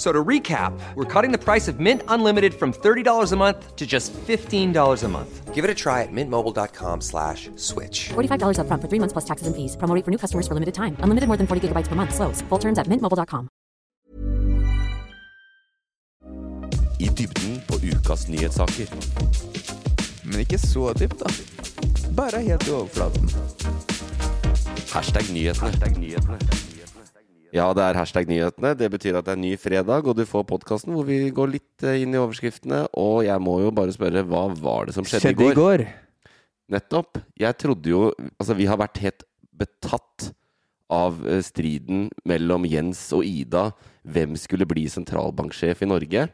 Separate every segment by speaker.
Speaker 1: So to recap, we're cutting the price of Mint Unlimited from $30 a month to just $15 a month. Give it a try at mintmobile.com slash switch.
Speaker 2: $45 up front for three months plus taxes and fees. Promo rate for new customers for limited time. Unlimited more than 40 gigabytes per month. Slows. Full terms at mintmobile.com.
Speaker 3: I dybden på ukas nyhetssaker.
Speaker 4: Men ikke så dypt, da. Bare helt i overflaten.
Speaker 3: Hashtag nyhetene. Ja, det er hashtag nyhetene. Det betyr at det er ny fredag, og du får podkasten hvor vi går litt eh, inn i overskriftene. Og jeg må jo bare spørre, hva var det som skjedde, i, går? Nettopp. Jeg trodde jo Altså, vi har vært helt betatt av eh, striden mellom Jens og Ida. Hvem skulle bli sentralbanksjef i Norge?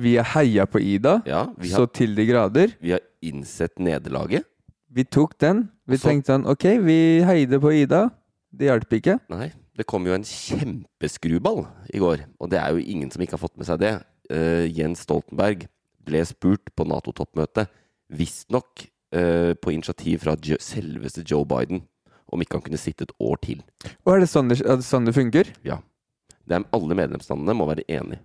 Speaker 4: Vi har heia på Ida,
Speaker 3: Ja, vi
Speaker 4: så
Speaker 3: har,
Speaker 4: til de grader.
Speaker 3: vi har innsett nederlaget.
Speaker 4: Vi tok den. Vi
Speaker 3: Så-
Speaker 4: tenkte sånn Ok, vi heide på Ida. Det hjalp ikke.
Speaker 3: Nei, det kom jo en kjempeskruball i går, og det er jo ingen som ikke har fått med seg det. Eh, Jens Stoltenberg ble spurt på Nato-toppmøtet, visstnok uh, på initiativ fra jo selveste Joe Biden, om ikke han kunne sitte et år til.
Speaker 4: Og er det sånn det, er det, sånn det funker?
Speaker 3: Det er, alle medlemslandene må være enige.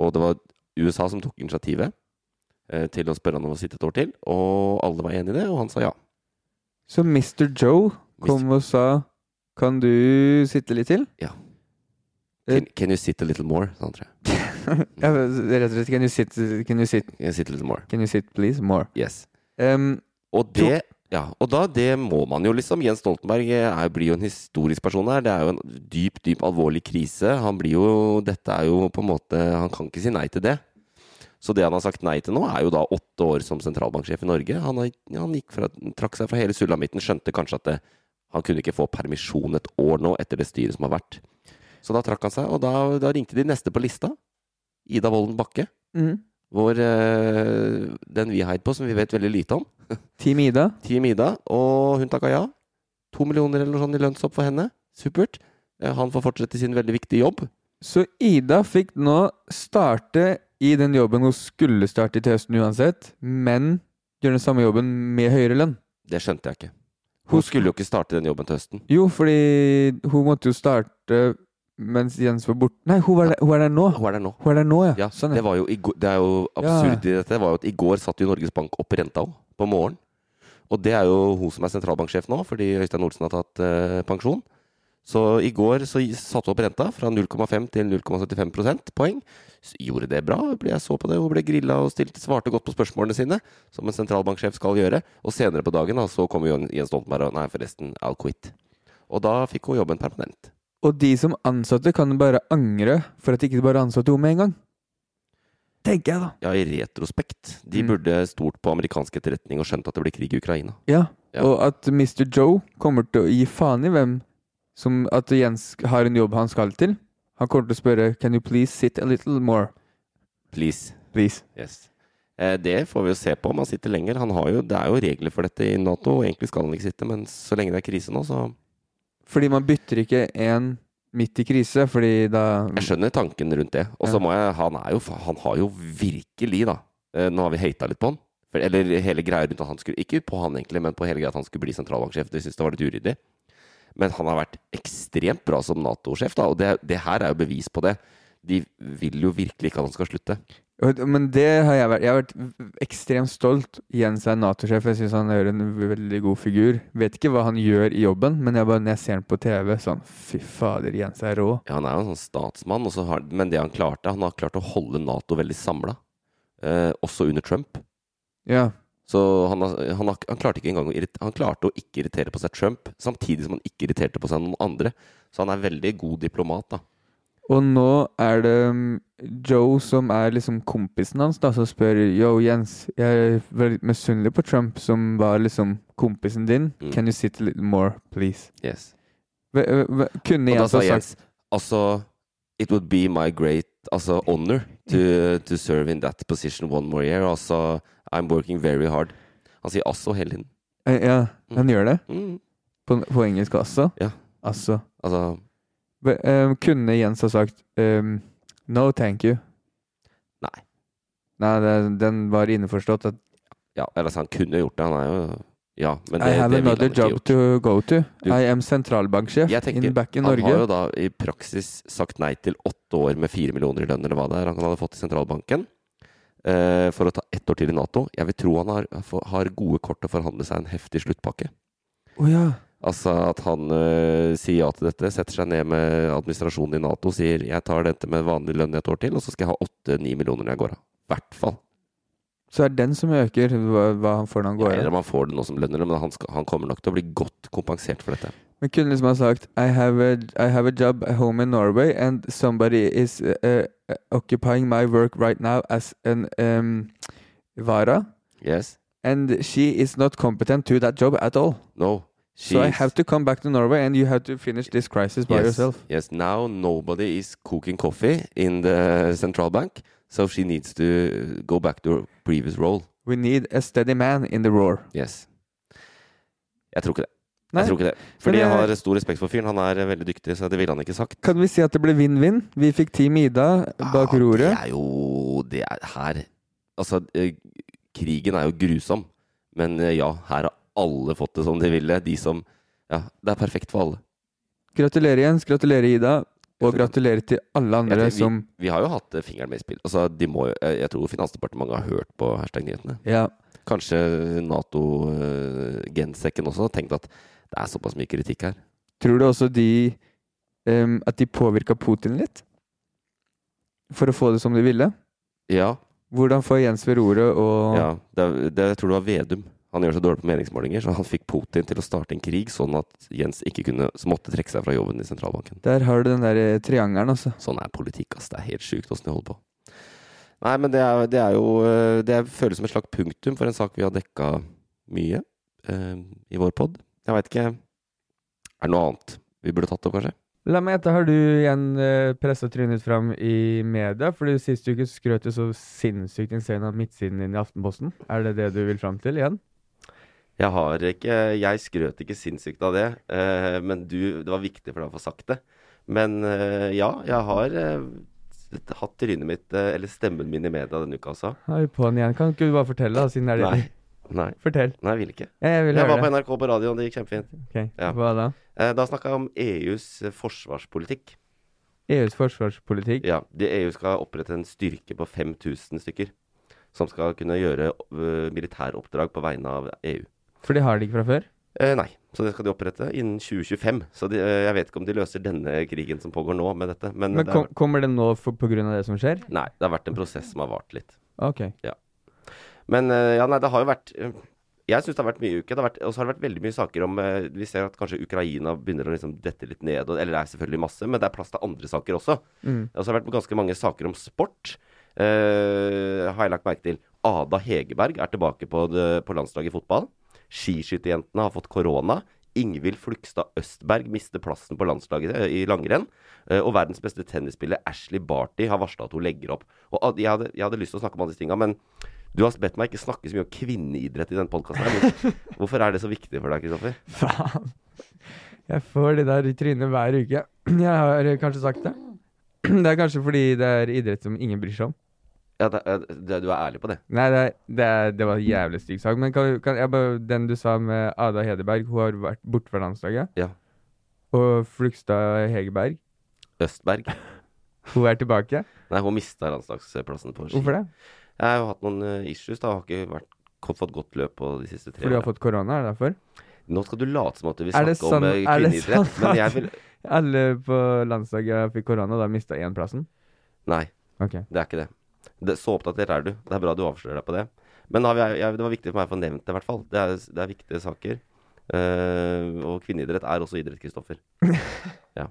Speaker 3: Og det var USA som tok initiativet eh, til å spørre han om å sitte et år til, og alle var enige i det, og han sa ja.
Speaker 4: Så Mr. Joe kom og sa Kan du sitte litt til?
Speaker 3: Can, can you sit a little more? sa han, tror jeg. Mm.
Speaker 4: Ja, rett og slett. Can you sit, can you sit,
Speaker 3: Can you sit a little more?
Speaker 4: can you sit please more?
Speaker 3: Yes.
Speaker 4: Em,
Speaker 3: Og det, ja, og da, det må man jo liksom. Jens Stoltenberg er, blir jo en historisk person her. Det er jo en dyp, dyp alvorlig krise. Han blir jo Dette er jo på en måte Han kan ikke si nei til det. Så det han har sagt nei til nå, er jo da åtte år som sentralbanksjef i Norge. Han, har, han gikk fra, trakk seg fra hele sulamitten, skjønte kanskje at det, han kunne ikke få permisjon et år nå etter det styret som har vært. Så da trakk han seg, og da, da ringte de neste på lista. Ida Wolden Bakke.
Speaker 4: mm,
Speaker 3: Vår, eh, den vi heier på, som vi vet veldig lite om.
Speaker 4: Team Ida.
Speaker 3: Team Ida, og hun takka ja. To millioner eller noe sånt i lønnsopp for henne. Supert. Eh, Han får fortsette sin veldig viktige jobb.
Speaker 4: Så Ida fikk nå starte i den jobben hun skulle starte til høsten uansett, men gjøre den samme jobben med høyere lønn.
Speaker 3: Det skjønte jeg ikke.
Speaker 4: Hun-
Speaker 3: Hun skulle jo ikke starte den jobben til høsten.
Speaker 4: Jo, fordi hun måtte jo starte mens Jens var borte. Nei, hun, var der, hun er der nå.
Speaker 3: Hun er der nå.
Speaker 4: Hun er der nå, ja.
Speaker 3: Ja,
Speaker 4: Sånn,
Speaker 3: det, var jo i går, det er jo absurd i dette. Det var jo at I går satt jo Norges Bank opp renta òg, på morgenen. Og det er jo hun som er sentralbanksjef nå, fordi Øystein Olsen har tatt eh, pensjon. Så i går så i- satte hun opp renta fra 0,5 til 0,75 prosentpoeng. S- Gjorde det bra, ble jeg så på det. Hun ble grilla og stilte, svarte godt på spørsmålene sine, som en sentralbanksjef skal gjøre. Og senere på dagen da, så kom jo Jens Stoltenberg og Nei, forresten, I'll quit. Og da fikk hun jobben permanent.
Speaker 4: Og de som ansatte kan bare angre for at de ikke bare ansatte henne med en gang. Tenker jeg, da.
Speaker 3: Ja, i retrospekt. De
Speaker 4: Mm.
Speaker 3: burde stolt på amerikansk etterretning og skjønt at det blir krig i Ukraina.
Speaker 4: Ja,
Speaker 3: Ja.
Speaker 4: og at Mr. Joe kommer til å gi faen i hvem som At Jens har en jobb han skal til. Han kommer til å spørre Can you please sit a little more,
Speaker 3: Please.
Speaker 4: please?
Speaker 3: Yes. Eh, Det får vi jo se på om han sitter lenger. Han har jo, det er jo regler for dette i Nato. og Egentlig skal han ikke sitte, men så lenge det er krise nå, så
Speaker 4: Fordi man bytter ikke en midt i krise, fordi da
Speaker 3: Jeg skjønner tanken rundt det. Og så
Speaker 4: Ja.
Speaker 3: må jeg Han, er jo, fa- han har jo virkelig, da eh, Nå har vi hata litt på han. For, eller hele greia rundt at han skulle Ikke på han egentlig, men på hele greia at han skulle bli sentralbanksjef. Det syns jeg var litt uryddig. Men han har vært ekstremt bra som Nato-sjef, da. Og det, det her er jo bevis på det. De vil jo virkelig ikke at han skal slutte.
Speaker 4: Og- Men det har jeg vært. Jeg har vært v- ekstremt stolt. Jens er Nato-sjef. Jeg syns han gjør en veldig god figur. Vet ikke hva han gjør i jobben, men jeg bare, når jeg ser han på TV, sånn Fy fader, Jens er rå.
Speaker 3: Ja, han er jo en sånn statsmann, og så har, men det han klarte Han har klart å holde Nato veldig samla, eh, også under Trump.
Speaker 4: Ja.
Speaker 3: Så han, har- han, har, han klarte ikke engang å irrit- Han klarte å ikke irritere på seg Trump, samtidig som han ikke irriterte på seg noen andre. Så han er veldig god diplomat, da.
Speaker 4: Og nå er det mm, Joe som er liksom kompisen hans, da, som spør Yo, Jens, jeg er veldig misunnelig på Trump, som var liksom kompisen din.
Speaker 3: Mm.
Speaker 4: Can you sit a little more, please?
Speaker 3: Yes.
Speaker 4: Hva- hva- hva- Kunne
Speaker 3: Og da
Speaker 4: Jens ha
Speaker 3: sa
Speaker 4: sagt
Speaker 3: Jens Altså It would be my great altså, honor to, to serve in that position one more year. Altså I'm working very hard. Han sier 'altså' hele tiden.
Speaker 4: Eh, Ja,
Speaker 3: Mm.
Speaker 4: han gjør det.
Speaker 3: Mm.
Speaker 4: På, på engelsk også.
Speaker 3: Ja.
Speaker 4: Altså.
Speaker 3: Altså
Speaker 4: Be- eh, kunne Jens ha sagt ehm, no thank you?
Speaker 3: Nei.
Speaker 4: Nei, det, den var innforstått at
Speaker 3: Ja, eller altså, han kunne gjort det. Han er jo Ja, men det,
Speaker 4: I have
Speaker 3: det ville
Speaker 4: another
Speaker 3: han ikke
Speaker 4: job
Speaker 3: gjort.
Speaker 4: to go to.
Speaker 3: Du-
Speaker 4: I am sentralbanksjef
Speaker 3: Jeg tenker,
Speaker 4: in back in
Speaker 3: Han har
Speaker 4: Norge.
Speaker 3: jo da i praksis sagt nei til åtte år med fire millioner i lønn, eller hva det er han hadde fått i sentralbanken, eh, for å ta ett år til i Nato. Jeg vil tro han har, har gode kort til å forhandle seg en heftig sluttpakke.
Speaker 4: Å ja.
Speaker 3: Altså at han eh, sier ja til dette, setter seg ned med administrasjonen i Nato, sier jeg tar dette med vanlig lønn i et år til, og så skal jeg ha åtte-ni millioner når jeg går av. I hvert fall.
Speaker 4: Så er den som øker, hva, hva han får når han går
Speaker 3: Eller
Speaker 4: av.
Speaker 3: om han får det nå som lønner, men han, skal, han kommer nok til å bli godt kompensert for dette.
Speaker 4: Men kunne liksom ha sagt I have a, I have a job at home in Norway and somebody is eh, eh, occupying my work right now as an um, vara.
Speaker 3: Yes?
Speaker 4: And she is not competent to that job at all.
Speaker 3: No? She
Speaker 4: So I
Speaker 3: is-
Speaker 4: have to come back to Norway and you have to finish this crisis by
Speaker 3: yes,
Speaker 4: yourself.
Speaker 3: Yes, now nobody is cooking coffee in the central bank, so she needs to go back to her previous role.
Speaker 4: We need a steady man in the roar.
Speaker 3: Yes. Jeg tror ikke det.
Speaker 4: Nei.
Speaker 3: Jeg tror ikke det. Fordi
Speaker 4: Men
Speaker 3: jeg
Speaker 4: jeg-
Speaker 3: har stor respekt for fyren. Han er eh, veldig dyktig, så det ville han ikke sagt.
Speaker 4: Kan vi si at det ble vinn-vinn? Vi fikk Team Ida bak
Speaker 3: Ja,
Speaker 4: roret.
Speaker 3: det er jo Det er her Altså, eh, krigen er jo grusom. Men eh, ja, her har alle fått det som de ville. De som Ja, det er perfekt for alle.
Speaker 4: Gratulerer, Jens. Gratulerer, Ida. Og
Speaker 3: Gratulerer.
Speaker 4: gratulerer til alle
Speaker 3: Jeg
Speaker 4: andre
Speaker 3: tenker vi-
Speaker 4: som
Speaker 3: Vi har jo hatt eh, fingeren med i spill. Altså, de må jo Jeg jeg tror Finansdepartementet har hørt på hashtag-nyhetene.
Speaker 4: Ja.
Speaker 3: Kanskje Nato-gensekken også har tenkt at det er såpass mye kritikk her.
Speaker 4: Tror du også de em, At de påvirka Putin litt? For å få det som de ville?
Speaker 3: Ja.
Speaker 4: Hvordan få Jens ved roret og
Speaker 3: ja det, er- det, jeg tror det var Vedum. Han gjør så dårlig på meningsmålinger, så han fikk Putin til å starte en krig sånn at Jens ikke kunne Så måtte trekke seg fra jobben i sentralbanken.
Speaker 4: Der har du den der eh, triangelen, altså.
Speaker 3: Sånn er politikk, ass. Det er helt sjukt åssen de holder på. Nei, men det er, det er jo eh, Det er- føles som et slags punktum for en sak vi har dekka mye eh, i vår pod. Jeg veit ikke Er det noe annet vi burde tatt opp, kanskje?
Speaker 4: La meg gjette, har du igjen pressa trynet ditt fram i media? Fordi sist uke skrøt du så sinnssykt insane av midtsiden din i Aftenposten. Er det det du vil fram til igjen?
Speaker 3: Jeg har ikke Jeg skrøt ikke sinnssykt av det, eh, men du Det var viktig for deg å få sagt det. Men eh, ja, jeg har eh, hatt trynet mitt, eh, eller stemmen min, i media denne uka også.
Speaker 4: Er vi på'n igjen? Kan ikke du bare fortelle, da, siden det er det
Speaker 3: Nei. Nei,
Speaker 4: Fortell.
Speaker 3: nei, jeg vil ikke.
Speaker 4: Jeg vil
Speaker 3: Jeg var
Speaker 4: høre
Speaker 3: på
Speaker 4: det.
Speaker 3: NRK på radioen, det gikk kjempefint.
Speaker 4: Ok,
Speaker 3: Ja.
Speaker 4: Hva da?
Speaker 3: Eh, Da snakka jeg om EUs forsvarspolitikk.
Speaker 4: EUs E forsvarspolitikk.
Speaker 3: Ja, de EU skal opprette en styrke på 5000 stykker. Som skal kunne gjøre eh, militæroppdrag på vegne av E EU.
Speaker 4: For det har de ikke fra før?
Speaker 3: Eh, nei, så det skal de opprette innen 2025. Så de, eh, jeg vet ikke om de løser denne krigen som pågår nå med dette. Men, eh,
Speaker 4: Men
Speaker 3: det,
Speaker 4: kom,
Speaker 3: har,
Speaker 4: kommer det nå for, på grunn av det som skjer?
Speaker 3: nei, det har vært en prosess som har vart litt.
Speaker 4: Ok.
Speaker 3: Men eh, ja, nei, det har jo vært eh, Jeg syns det har vært mye uke. Det har vært- Og så har det vært veldig mye saker om eh, Vi ser at kanskje Ukraina begynner å liksom dette litt ned. Og, eller det er selvfølgelig masse, men det er plass til andre saker også.
Speaker 4: Mm.
Speaker 3: Og så har det vært ganske mange saker om sport. eh, har jeg lagt merke til. Ada Hegerberg er tilbake på, det- på landslaget i fotball. Skiskytterjentene har fått korona. Ingvild Flugstad Østberg mister plassen på landslaget eh, i langrenn. Eh, og verdens beste tennisspiller Ashley Barty har varsla at hun legger opp. Og ah, jeg, hadde, jeg hadde lyst til å snakke om alle disse tinga, men du har bedt meg ikke snakke så mye om kvinneidrett i denne podkasten. Hvorfor er det så viktig for deg, Kristoffer?
Speaker 4: Faen. Jeg får det der i trynet hver uke. Jeg har eh, kanskje sagt det. Det er kanskje fordi det er idrett som ingen bryr seg om.
Speaker 3: Ja, det, eh, det, du er ærlig på det?
Speaker 4: Nei, det, er- det, er- det var en jævlig stygg sak. Men kan, kan jeg bare, den du sa med Ada Hedeberg, hun har vært borte fra landslaget.
Speaker 3: Ja.
Speaker 4: Og Flugstad Hegerberg,
Speaker 3: Østberg.
Speaker 4: hun er tilbake.
Speaker 3: Nei, hun mista landslagsplassen på ski.
Speaker 4: Hvorfor det?
Speaker 3: Jeg har jo hatt noen eh, issues. da, Har ikke vært, ko- fått godt løp på de siste tre
Speaker 4: Fordi hun har fått korona, er det derfor?
Speaker 3: Nå skal du late som at du vil
Speaker 4: Er
Speaker 3: snakke
Speaker 4: det sånn-
Speaker 3: om eh,
Speaker 4: er det
Speaker 3: kvinneidrett,
Speaker 4: sånn
Speaker 3: men
Speaker 4: at-
Speaker 3: jeg vil
Speaker 4: Alle på landslaget fikk korona, da mista én plassen.
Speaker 3: Nei,
Speaker 4: Ok.
Speaker 3: det er ikke det. det. Så oppdatert er du. Det er bra du avslører deg på det. Men har vi, jeg, det var viktig for meg å få nevnt det, i hvert fall. Det er, det er viktige saker. Eh, og kvinneidrett er også idrett, Kristoffer. ja.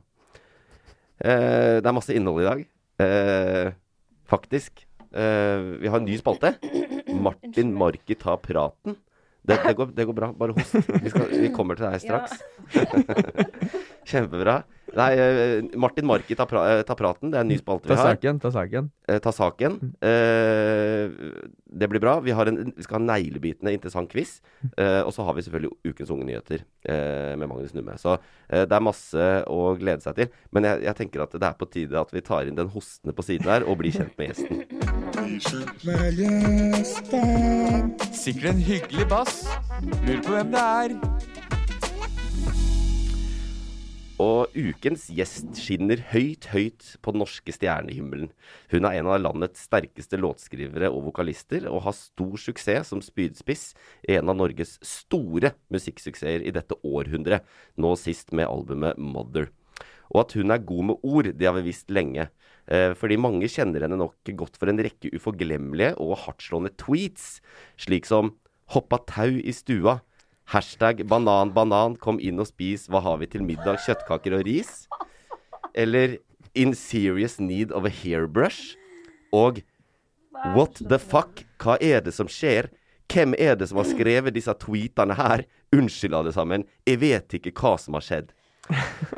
Speaker 3: Eh, det er masse innhold i dag. Eh, faktisk. Eh, vi har en ny spalte. Martin Marki tar praten. Det, det, går, det går bra. Bare host. Vi, skal, vi kommer til deg straks. Kjempebra. Nei, eh, Martin Marki tar, pra eh, tar praten. Det er en ny spalte vi
Speaker 4: Ta
Speaker 3: har.
Speaker 4: saken, ta saken.
Speaker 3: Eh, ta saken. Eh, det blir bra. Vi, har en, vi skal ha en neglebitende interessant quiz. Eh, og så har vi selvfølgelig Ukens unge nyheter eh, med Magnus Numme. Så eh, det er masse å glede seg til. Men jeg, jeg tenker at det er på tide at vi tar inn den hostende på siden her og blir kjent med gjesten.
Speaker 4: Sikkert en hyggelig bass. Lurer på hvem det er.
Speaker 3: Og ukens gjest skinner høyt, høyt på den norske stjernehimmelen. Hun er en av landets sterkeste låtskrivere og vokalister, og har stor suksess som spydspiss i en av Norges store musikksuksesser i dette århundret, nå sist med albumet 'Mother'. Og at hun er god med ord, det har vi visst lenge. Eh, fordi mange kjenner henne nok godt for en rekke uforglemmelige og hardtslående tweets, slik som 'hoppa tau i stua', hashtag 'banan, banan, kom inn og spis, hva har vi til middag, kjøttkaker og ris', eller 'in serious need of a hairbrush', og 'what the fuck, hva er det som skjer'? Hvem er det som har skrevet disse tweetene her? Unnskyld, alle sammen. Jeg vet ikke hva som har skjedd.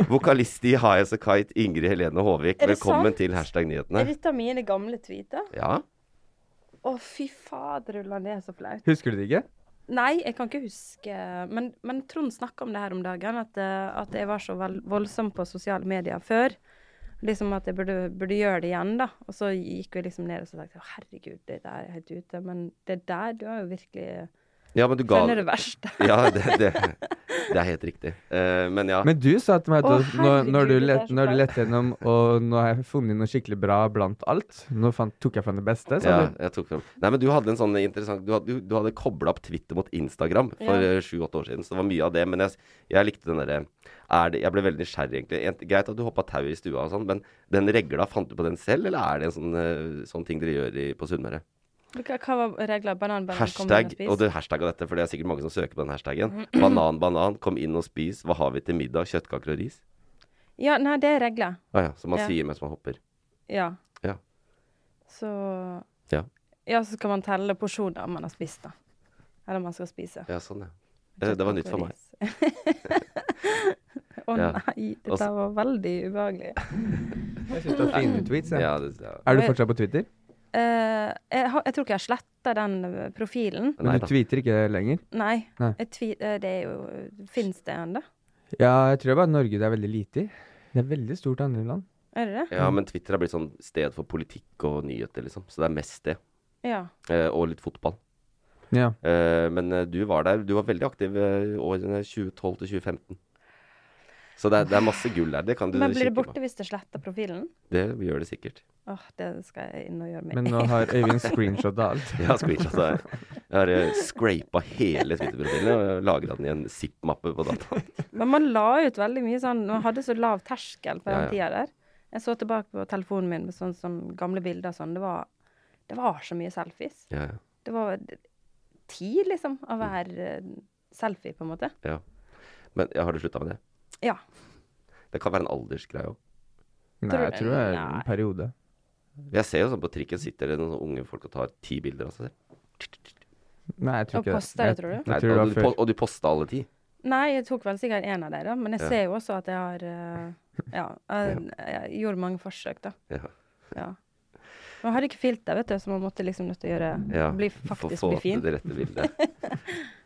Speaker 3: Vokalist i High As A Kite, Ingrid Helene Håvik.
Speaker 5: Er det
Speaker 3: Velkommen
Speaker 5: sant?
Speaker 3: til Hashtag
Speaker 5: Er
Speaker 3: nyhetene.
Speaker 5: dette mine gamle tweeter?
Speaker 3: Ja.
Speaker 5: Å, fy faderullan, det er så flaut.
Speaker 4: Husker du det ikke?
Speaker 5: Nei, jeg kan ikke huske Men, men Trond snakka om det her om dagen, at, eh, at jeg var så vel, voldsom på sosiale medier før. Liksom at jeg burde, burde gjøre det igjen, da. Og så gikk vi liksom ned og så tenkte jeg, herregud, det der er helt ute. Men det der, du har jo virkelig
Speaker 3: ja, men du ga
Speaker 5: Skjønner det verste.
Speaker 3: Ja, det, det, det er helt riktig. Eh, men ja.
Speaker 4: Men du sa til meg
Speaker 5: Å,
Speaker 4: at når, når, du
Speaker 5: herregud, det er
Speaker 4: let,
Speaker 5: så
Speaker 4: når du
Speaker 5: flaut.
Speaker 4: lette gjennom og nå har jeg funnet noe skikkelig bra blant alt Nå fant, tok jeg fram det beste. sa
Speaker 5: Sånn,
Speaker 3: ja,
Speaker 4: du.
Speaker 3: jeg tok frem. Nei, men du hadde en sånn interessant Du hadde, du, du hadde kobla opp Twitter mot Instagram
Speaker 5: Ja.
Speaker 3: for eh, sju-åtte år siden. Så det var mye av det. Men jeg, jeg likte den derre er det- Jeg ble veldig nysgjerrig, egentlig. En- Greit at du hoppa tau i stua og sånn, men den regla, fant du på den selv, eller er det en sånn, eh, sånn ting dere gjør i, på Sunnmøre?
Speaker 5: Hva hva var regler? Banan, banan, kom inn og
Speaker 3: Hashtag,
Speaker 5: spis.
Speaker 3: og du hashtagga dette, for det er sikkert mange som søker på den hashtagen. Banan, banan, kom inn og spis. Hva har vi til middag? Kjøttkaker og ris?
Speaker 5: Ja, nei, det er regler.
Speaker 3: Ah, ja, som man
Speaker 5: Ja.
Speaker 3: sier mens man hopper.
Speaker 5: Ja.
Speaker 3: Ja.
Speaker 5: Så
Speaker 3: Ja.
Speaker 5: Ja, så skal man telle porsjoner man har spist, da. Eller man skal spise. Sånn
Speaker 3: Ja, sånn, ja. Eh, Det var nytt for meg.
Speaker 5: Å
Speaker 3: Ja. Altså-
Speaker 5: nei,
Speaker 3: Og
Speaker 5: dette
Speaker 3: så-
Speaker 5: var veldig ubehagelig.
Speaker 4: Jeg synes det var fine tweets. jeg.
Speaker 3: Ja, det, ja.
Speaker 4: Er du fortsatt på Twitter?
Speaker 5: Eh, jeg, har, jeg tror ikke jeg har sletta den eh, profilen.
Speaker 4: Men
Speaker 3: Nei
Speaker 4: du
Speaker 3: da.
Speaker 4: tweeter ikke lenger?
Speaker 5: Nei.
Speaker 4: Nei.
Speaker 5: Jeg tvi, eh, det er jo Fins det ennå?
Speaker 4: Ja, jeg tror bare Norge det er veldig lite i. Det er veldig stort i andre land.
Speaker 5: Er det det?
Speaker 3: Ja,
Speaker 4: Mm.
Speaker 3: men Twitter har blitt sånn sted for politikk og nyheter, liksom. Så det er mest det.
Speaker 5: Ja.
Speaker 3: Eh, og litt fotball.
Speaker 4: Ja.
Speaker 3: Eh, men eh, du var der. Du var veldig aktiv eh, årene 2012 til 2015. Så det er, det er masse gull der. Det kan du
Speaker 5: Men blir det
Speaker 3: kikke
Speaker 5: borte
Speaker 3: på.
Speaker 5: hvis du sletter profilen?
Speaker 3: Det gjør det sikkert.
Speaker 5: Åh, det skal jeg inn og gjøre med
Speaker 4: Men nå har Øyvind screenshotta alt.
Speaker 3: Jeg har screenshotta her. Jeg har eh, scrapa hele Twitter-profilen og lagra den i en zip-mappe på dataen.
Speaker 5: Men man la ut veldig mye sånn Man hadde så lav terskel på den
Speaker 3: Ja, ja.
Speaker 5: tida der. Jeg så tilbake på telefonen min med sånn, sånn gamle bilder og sånn. Det var, det var så mye selfies.
Speaker 3: Ja, ja.
Speaker 5: Det var tid, liksom, av
Speaker 3: Mm.
Speaker 5: hver eh, selfie, på en måte.
Speaker 3: ja. Men ja, har du slutta med det?
Speaker 5: Ja.
Speaker 3: Det kan være en aldersgreie òg.
Speaker 4: Nei, jeg tror det er
Speaker 5: Nei.
Speaker 4: en periode.
Speaker 3: Jeg ser jo sånn på trikken sitter det noen sånne unge folk og tar ti bilder av seg selv.
Speaker 4: Nei, jeg tror
Speaker 5: Og
Speaker 4: ikke
Speaker 5: poster det, tror du?
Speaker 4: Jeg,
Speaker 3: Nei,
Speaker 4: jeg tror det
Speaker 3: og,
Speaker 4: var
Speaker 3: du,
Speaker 4: før.
Speaker 3: po- og du posta alle ti.
Speaker 5: Nei, jeg tok vel sikkert én av dem, da. Men jeg
Speaker 3: Ja.
Speaker 5: ser jo også at jeg har eh, Ja, jeg, jeg gjorde mange forsøk, da.
Speaker 3: Ja.
Speaker 5: Ja. Men jeg hadde ikke filter, vet du, så man måtte liksom nødt til å gjøre
Speaker 3: Ja,
Speaker 5: bli,
Speaker 3: for å
Speaker 5: faktisk
Speaker 3: få
Speaker 5: bli fin.
Speaker 3: Det rette bildet.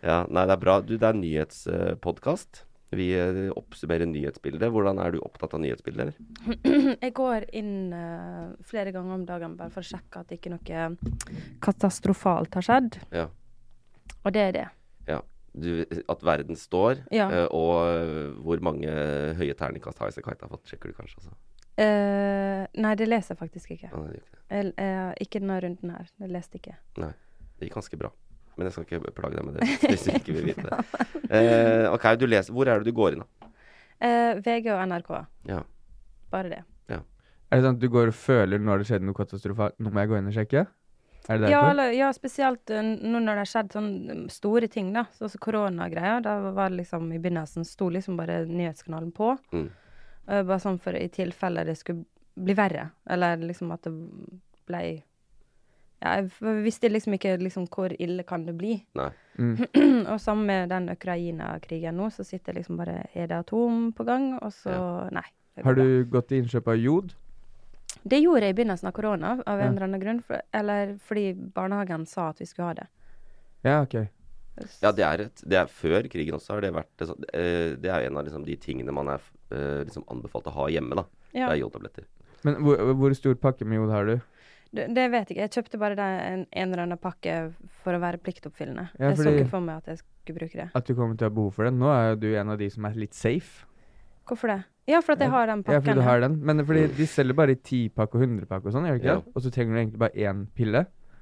Speaker 3: Ja, nei, det er bra. Du, det er nyhetspodkast. Vi eh, oppsummerer nyhetsbildet. Hvordan er du opptatt av nyhetsbildet? Eller?
Speaker 5: Jeg går inn eh, flere ganger om dagen bare for å sjekke at ikke noe katastrofalt har skjedd.
Speaker 3: Ja.
Speaker 5: Og det er det.
Speaker 3: ja. Du, at verden står,
Speaker 5: Ja.
Speaker 3: eh, og eh, hvor mange høye terningkast Highasakite har fått, sjekker du kanskje også.
Speaker 5: Eh, nei, det leser jeg faktisk ikke.
Speaker 3: Ja, det, gjør ikke det.
Speaker 5: Jeg, jeg, ikke denne runden her. Det leste jeg ikke.
Speaker 3: nei, det gikk ganske bra. Men jeg skal ikke plage deg med det hvis du ikke vil vite det. Eh, ok, du leser. Hvor er det du går inn, da?
Speaker 5: Eh, VG og NRK.
Speaker 3: Ja.
Speaker 5: Bare det.
Speaker 4: Er det sånn at du går og føler når det skjedde noe katastrofalt? Nå må jeg gå inn og sjekke? Er det
Speaker 5: Ja,
Speaker 4: derfor?
Speaker 5: eller, ja, spesielt eh, nå når det har skjedd sånne mm, store ting, da. Sånn som koronagreier. Da var det liksom i begynnelsen sto liksom bare nyhetskanalen på.
Speaker 3: Mm.
Speaker 5: Eh, bare sånn for i tilfelle det skulle bli verre. Eller liksom at det ble Ja, jeg f- visste liksom ikke liksom hvor ille kan det bli.
Speaker 3: Nei.
Speaker 4: Mm.
Speaker 5: og sammen E med den Ukraina-krigen nå, så sitter jeg liksom bare Er det atom på gang? Og så Nei. Det går
Speaker 4: Har
Speaker 5: bra.
Speaker 4: du gått til innkjøp av jod?
Speaker 5: Det gjorde jeg i begynnelsen av korona, av
Speaker 4: Ja.
Speaker 5: en eller annen grunn. For, eller fordi barnehagen sa at vi skulle ha det.
Speaker 4: Ja, ok.
Speaker 3: Ja, det er et Det er før krigen også har det vært eh, sånn- eh, Det er en av liksom, de tingene man er eh, liksom anbefalt å ha hjemme, da.
Speaker 5: Ja.
Speaker 3: Det er jodtabletter.
Speaker 4: Men hvor, hvor stor pakke med jod har du?
Speaker 5: Det, det vet jeg ikke. Jeg kjøpte bare det en, en eller annen pakke for å være pliktoppfyllende.
Speaker 4: Ja,
Speaker 5: Jeg så
Speaker 4: fordi-
Speaker 5: ikke for meg at jeg skulle bruke det.
Speaker 4: At du kommer til å ha behov for den? Nå er jo du en av de som er litt safe.
Speaker 5: Hvorfor det? Ja, for at jeg har den
Speaker 4: Ja, fordi
Speaker 5: pakken.
Speaker 4: du har den. Men fordi de selger bare i 10-pakke og 100-pakke og sånn, gjør de ikke
Speaker 3: Ja.
Speaker 4: det? Og så trenger du egentlig bare én pille.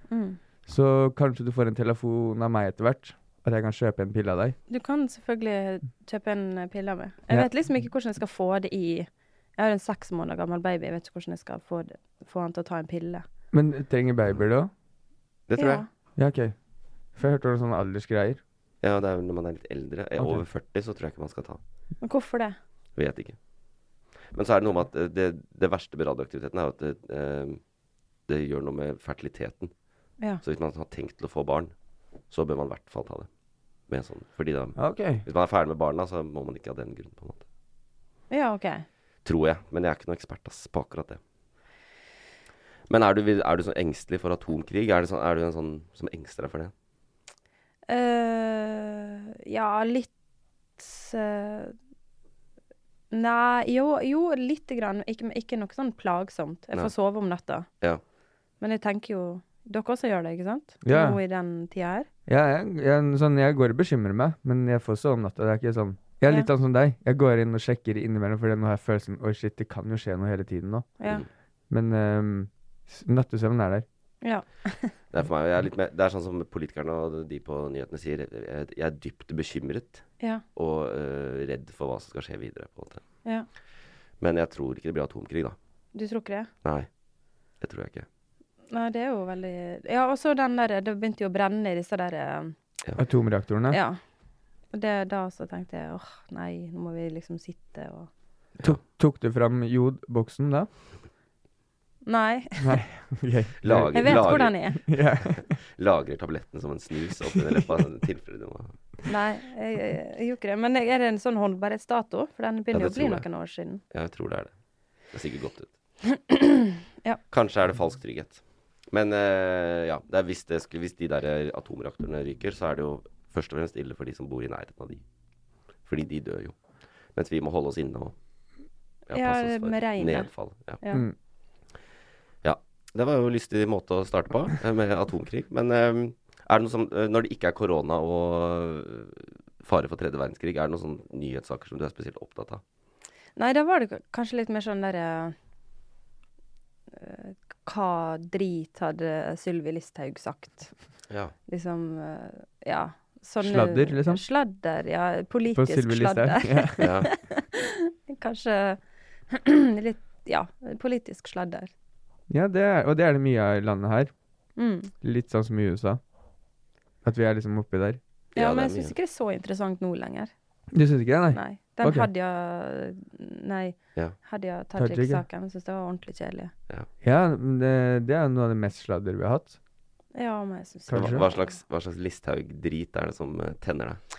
Speaker 5: Mm.
Speaker 4: Så kanskje du får en telefon av meg etter hvert. At jeg kan kjøpe en pille av deg.
Speaker 5: Du kan selvfølgelig kjøpe en eh, pille av meg. Jeg
Speaker 4: Ja.
Speaker 5: vet liksom ikke hvordan jeg skal få det i Jeg har en seks måneder gammel baby. Jeg vet ikke hvordan jeg skal få, det, få han til å ta en pille.
Speaker 4: Men trenger babyer det òg?
Speaker 3: Det tror
Speaker 5: ja.
Speaker 3: jeg.
Speaker 4: Ja, OK. For jeg hørte om sånne aldersgreier.
Speaker 3: Ja, det er vel når man er litt eldre. Eh,
Speaker 4: Ok.
Speaker 3: Over 40 så tror jeg ikke man skal ta.
Speaker 5: Men hvorfor det?
Speaker 3: Vet ikke. Men så er det noe med at eh, det, det verste med radioaktiviteten er jo at det, eh, det gjør noe med fertiliteten.
Speaker 5: Ja.
Speaker 3: Så hvis man har tenkt til å få barn, så bør man i hvert fall ta det. Med en sånn. Fordi da,
Speaker 4: OK.
Speaker 3: hvis man er ferdig med barna, så må man ikke ha den grunnen, på en måte.
Speaker 5: Ja, OK.
Speaker 3: Tror jeg. Men jeg er ikke noen ekspert ass, på akkurat det. Men er du, er du sånn engstelig for atomkrig? Er, det sånn, er du en sånn som engster deg for det?
Speaker 5: eh ja, litt eh, Nei, jo, jo lite grann. Ikke, men ikke noe sånn plagsomt. Jeg
Speaker 3: Nei.
Speaker 5: får sove om natta.
Speaker 3: Ja.
Speaker 5: Men jeg tenker jo Dere også gjør det, ikke sant?
Speaker 4: Ja.
Speaker 5: Nå i den tida her.
Speaker 4: Ja, jeg, jeg, sånn, jeg går og bekymrer meg, men jeg får sove om natta. Det er ikke sånn Jeg er litt sånn som deg. Jeg går inn og sjekker innimellom, fordi nå har jeg følelsen Oi, shit, det kan jo skje noe hele tiden nå.
Speaker 5: Ja.
Speaker 3: Mm.
Speaker 4: Men ehm, s- nattesøvnen er der.
Speaker 5: ja.
Speaker 3: Det er, for meg, jeg er litt mer, det er sånn som politikerne og de på nyhetene sier. Jeg, jeg er dypt bekymret
Speaker 5: ja.
Speaker 3: og eh, redd for hva som skal skje videre. på en måte.
Speaker 5: Ja.
Speaker 3: Men jeg tror ikke det blir atomkrig, da.
Speaker 5: Du tror ikke det?
Speaker 3: Nei, det tror jeg ikke.
Speaker 5: Nei, det er jo veldig Ja, og så den der Det begynte jo å brenne i disse der eh,
Speaker 4: Atomreaktorene.
Speaker 5: Ja. Og det da så tenkte jeg åh, nei, nå må vi liksom sitte og
Speaker 4: Tok, tok du fram jodboksen da?
Speaker 5: Nei.
Speaker 4: Ok.
Speaker 3: Lager,
Speaker 5: Jeg vet
Speaker 3: lager,
Speaker 5: hvordan jeg er.
Speaker 4: Ja.
Speaker 3: Lagrer tabletten som en snus oppunder leppa. sånn i tilfelle du må-
Speaker 5: Nei, jeg, jeg, jeg gjorde ikke det. Men er det en sånn håndbarhetsdato? For den begynner
Speaker 3: Ja,
Speaker 5: jo
Speaker 3: det
Speaker 5: å bli
Speaker 3: tror jeg.
Speaker 5: noen år siden.
Speaker 3: Ja, jeg tror det er det. Det ser sikkert godt ut.
Speaker 5: Ja.
Speaker 3: Kanskje er det falsk trygghet. Men eh, ja, det er hvis, det skulle, hvis de der atomreaktorene ryker, så er det jo først og fremst ille for de som bor i nærheten av de. Fordi de dør jo. Mens vi må holde oss inne og
Speaker 5: Ja, eh,
Speaker 3: passe oss for
Speaker 5: med regnet.
Speaker 3: nedfall. Ja.
Speaker 5: Ja.
Speaker 4: Mm.
Speaker 3: Ja. Det var jo en lystig måte å starte på, eh, med atomkrig. Men eh, er det noe som, eh, når det ikke er korona og eh, fare for tredje verdenskrig, er det noen sånne nyhetssaker som du er spesielt opptatt av?
Speaker 5: Nei, da var det k- kanskje litt mer sånn derre eh, Hva drit hadde Sylvi Listhaug sagt?
Speaker 3: Ja.
Speaker 5: Liksom eh, Ja. Sånne,
Speaker 4: Sladder, liksom?
Speaker 5: Sladder, ja.
Speaker 4: På
Speaker 5: Politisk
Speaker 4: Sylvi Listhaug.
Speaker 5: sladder.
Speaker 4: Ja.
Speaker 3: ja.
Speaker 5: Kanskje litt Ja, politisk sladder.
Speaker 4: ja, det er, og det er det mye av i landet her.
Speaker 5: Mm.
Speaker 4: Litt sånn som i USA. At vi er liksom oppi der.
Speaker 3: Ja,
Speaker 5: Ja,
Speaker 3: det
Speaker 5: men
Speaker 3: er
Speaker 5: jeg syns
Speaker 3: mye.
Speaker 5: ikke det er så interessant nå lenger.
Speaker 4: Du syns ikke det, nei?
Speaker 5: Nei. Den
Speaker 4: Ok.
Speaker 5: Hadia Nei,
Speaker 3: Ja.
Speaker 5: Hadia
Speaker 4: Tajik,
Speaker 5: Tajik-saken. Jeg syns det var ordentlig kjedelig.
Speaker 4: Ja, men det, det er noe av det mest sladder vi har hatt.
Speaker 5: Ja, men jeg syns
Speaker 4: Kanskje.
Speaker 3: Hva, hva slags, hva slags Listhaug-drit er det som eh, tenner deg?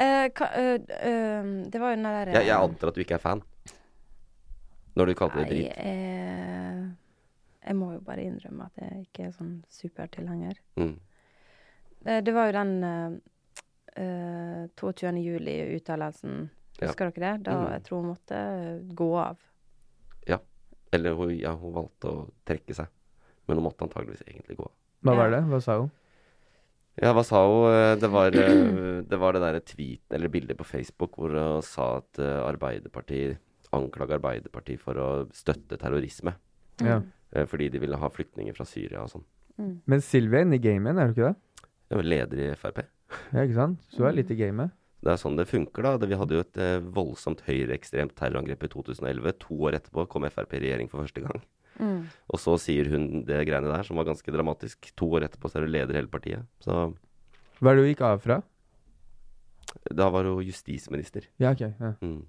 Speaker 5: Eh, ka, eh, eh, det var jo den der
Speaker 3: Jeg, jeg antar at du ikke er fan. Når du kalte det
Speaker 5: Nei,
Speaker 3: drit.
Speaker 5: eh, jeg må jo bare innrømme at jeg ikke er sånn supertilhenger.
Speaker 3: Mm.
Speaker 5: Eh, det var jo den eh, eh, 22. juli-uttalelsen.
Speaker 3: Ja.
Speaker 5: Husker dere det? Da
Speaker 3: Mm.
Speaker 5: jeg tror hun måtte eh, gå av.
Speaker 3: Eller hun, ja, hun valgte å trekke seg. Men hun måtte antageligvis egentlig gå.
Speaker 4: Hva
Speaker 5: Ja.
Speaker 4: var det? Hva sa hun?
Speaker 3: Ja, hva sa hun? Eh, Det var eh, det, var det derre tweeten eller bildet på Facebook hvor hun sa at eh, Arbeiderpartiet anklager Arbeiderpartiet for å støtte terrorisme.
Speaker 4: Ja.
Speaker 3: eh, Fordi de ville ha flyktninger fra Syria og sånn.
Speaker 4: Men Sylvi er inne i gamet, er hun ikke det?
Speaker 3: Jeg var leder i Frp.
Speaker 4: Ja, ikke sant? Så hun er litt i gamet.
Speaker 3: Det er sånn det funker, da. Det- Vi hadde jo et eh, voldsomt høyreekstremt terrorangrep i 2011. To år etterpå kom Frp i regjering for første gang.
Speaker 5: Mm.
Speaker 3: Og så sier hun det greiene der, som var ganske dramatisk. To år etterpå så er hun leder i hele partiet. Så
Speaker 4: Hva er det hun gikk av fra?
Speaker 3: da var hun justisminister.
Speaker 4: Ja, ok. Ja.
Speaker 3: Mm.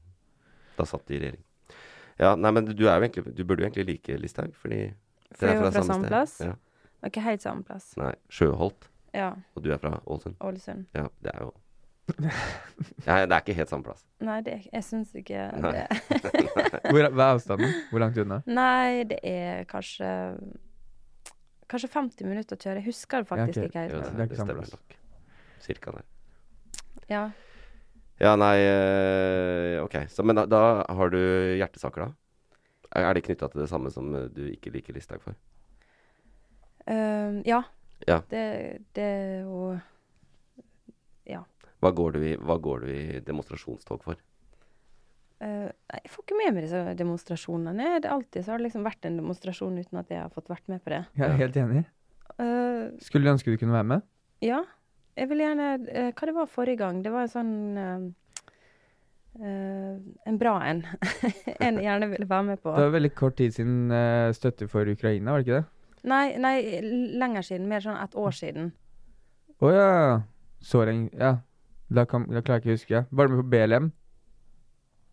Speaker 3: Da satt de i regjering. Ja, nei, men du, er jo egentlig, du burde jo egentlig like Listhaug, fordi
Speaker 5: For
Speaker 3: dere
Speaker 5: hun er fra samme
Speaker 3: sted.
Speaker 5: plass?
Speaker 3: Ja.
Speaker 5: Ikke helt samme plass.
Speaker 3: Nei, Sjøholt,
Speaker 5: Ja.
Speaker 3: og du er fra Ålesund.
Speaker 5: Ålesund.
Speaker 3: Ja, det er jo Nei, det er ikke helt samme plass.
Speaker 5: Nei, det, jeg syns ikke
Speaker 3: Nei.
Speaker 5: det.
Speaker 4: Hvor, hva er avstanden? Hvor langt unna?
Speaker 5: Nei, det er kanskje Kanskje 50 minutter å kjøre. Jeg husker det faktisk
Speaker 4: ok.
Speaker 5: ikke
Speaker 3: Jo,
Speaker 5: helt.
Speaker 4: det er
Speaker 3: det,
Speaker 4: ikke
Speaker 3: det
Speaker 4: samme
Speaker 3: stemmer
Speaker 4: plass.
Speaker 3: nok. Cirka det.
Speaker 5: Ja.
Speaker 3: Ja, nei eh, Ok. Så, men da, da har du hjertesaker, da? Er er det knytta til det samme som eh, du ikke liker Listhaug for?
Speaker 5: Ehm, ja.
Speaker 3: Ja.
Speaker 5: Det, det er jo
Speaker 3: Hva går du i, hva går du i demonstrasjonstog for?
Speaker 5: eh, nei, Jeg får ikke med meg disse demonstrasjonene. Det er alltid så har det liksom vært en demonstrasjon uten at jeg har fått vært med på det.
Speaker 4: Jeg er helt enig.
Speaker 5: Eh,
Speaker 4: Skulle ønske du kunne være med.
Speaker 5: ja. Jeg vil gjerne eh, Hva det var forrige gang? Det var en sånn eh, eh, En bra en. en jeg gjerne ville være med på.
Speaker 4: Det var veldig kort tid siden eh, støtte for Ukraina, var det ikke det?
Speaker 5: Nei, nei, lenger siden. Mer sånn et år siden.
Speaker 4: Å ja. Så lenge Ja. Da, kan, da klarer jeg ikke å huske. Var du med på BLM?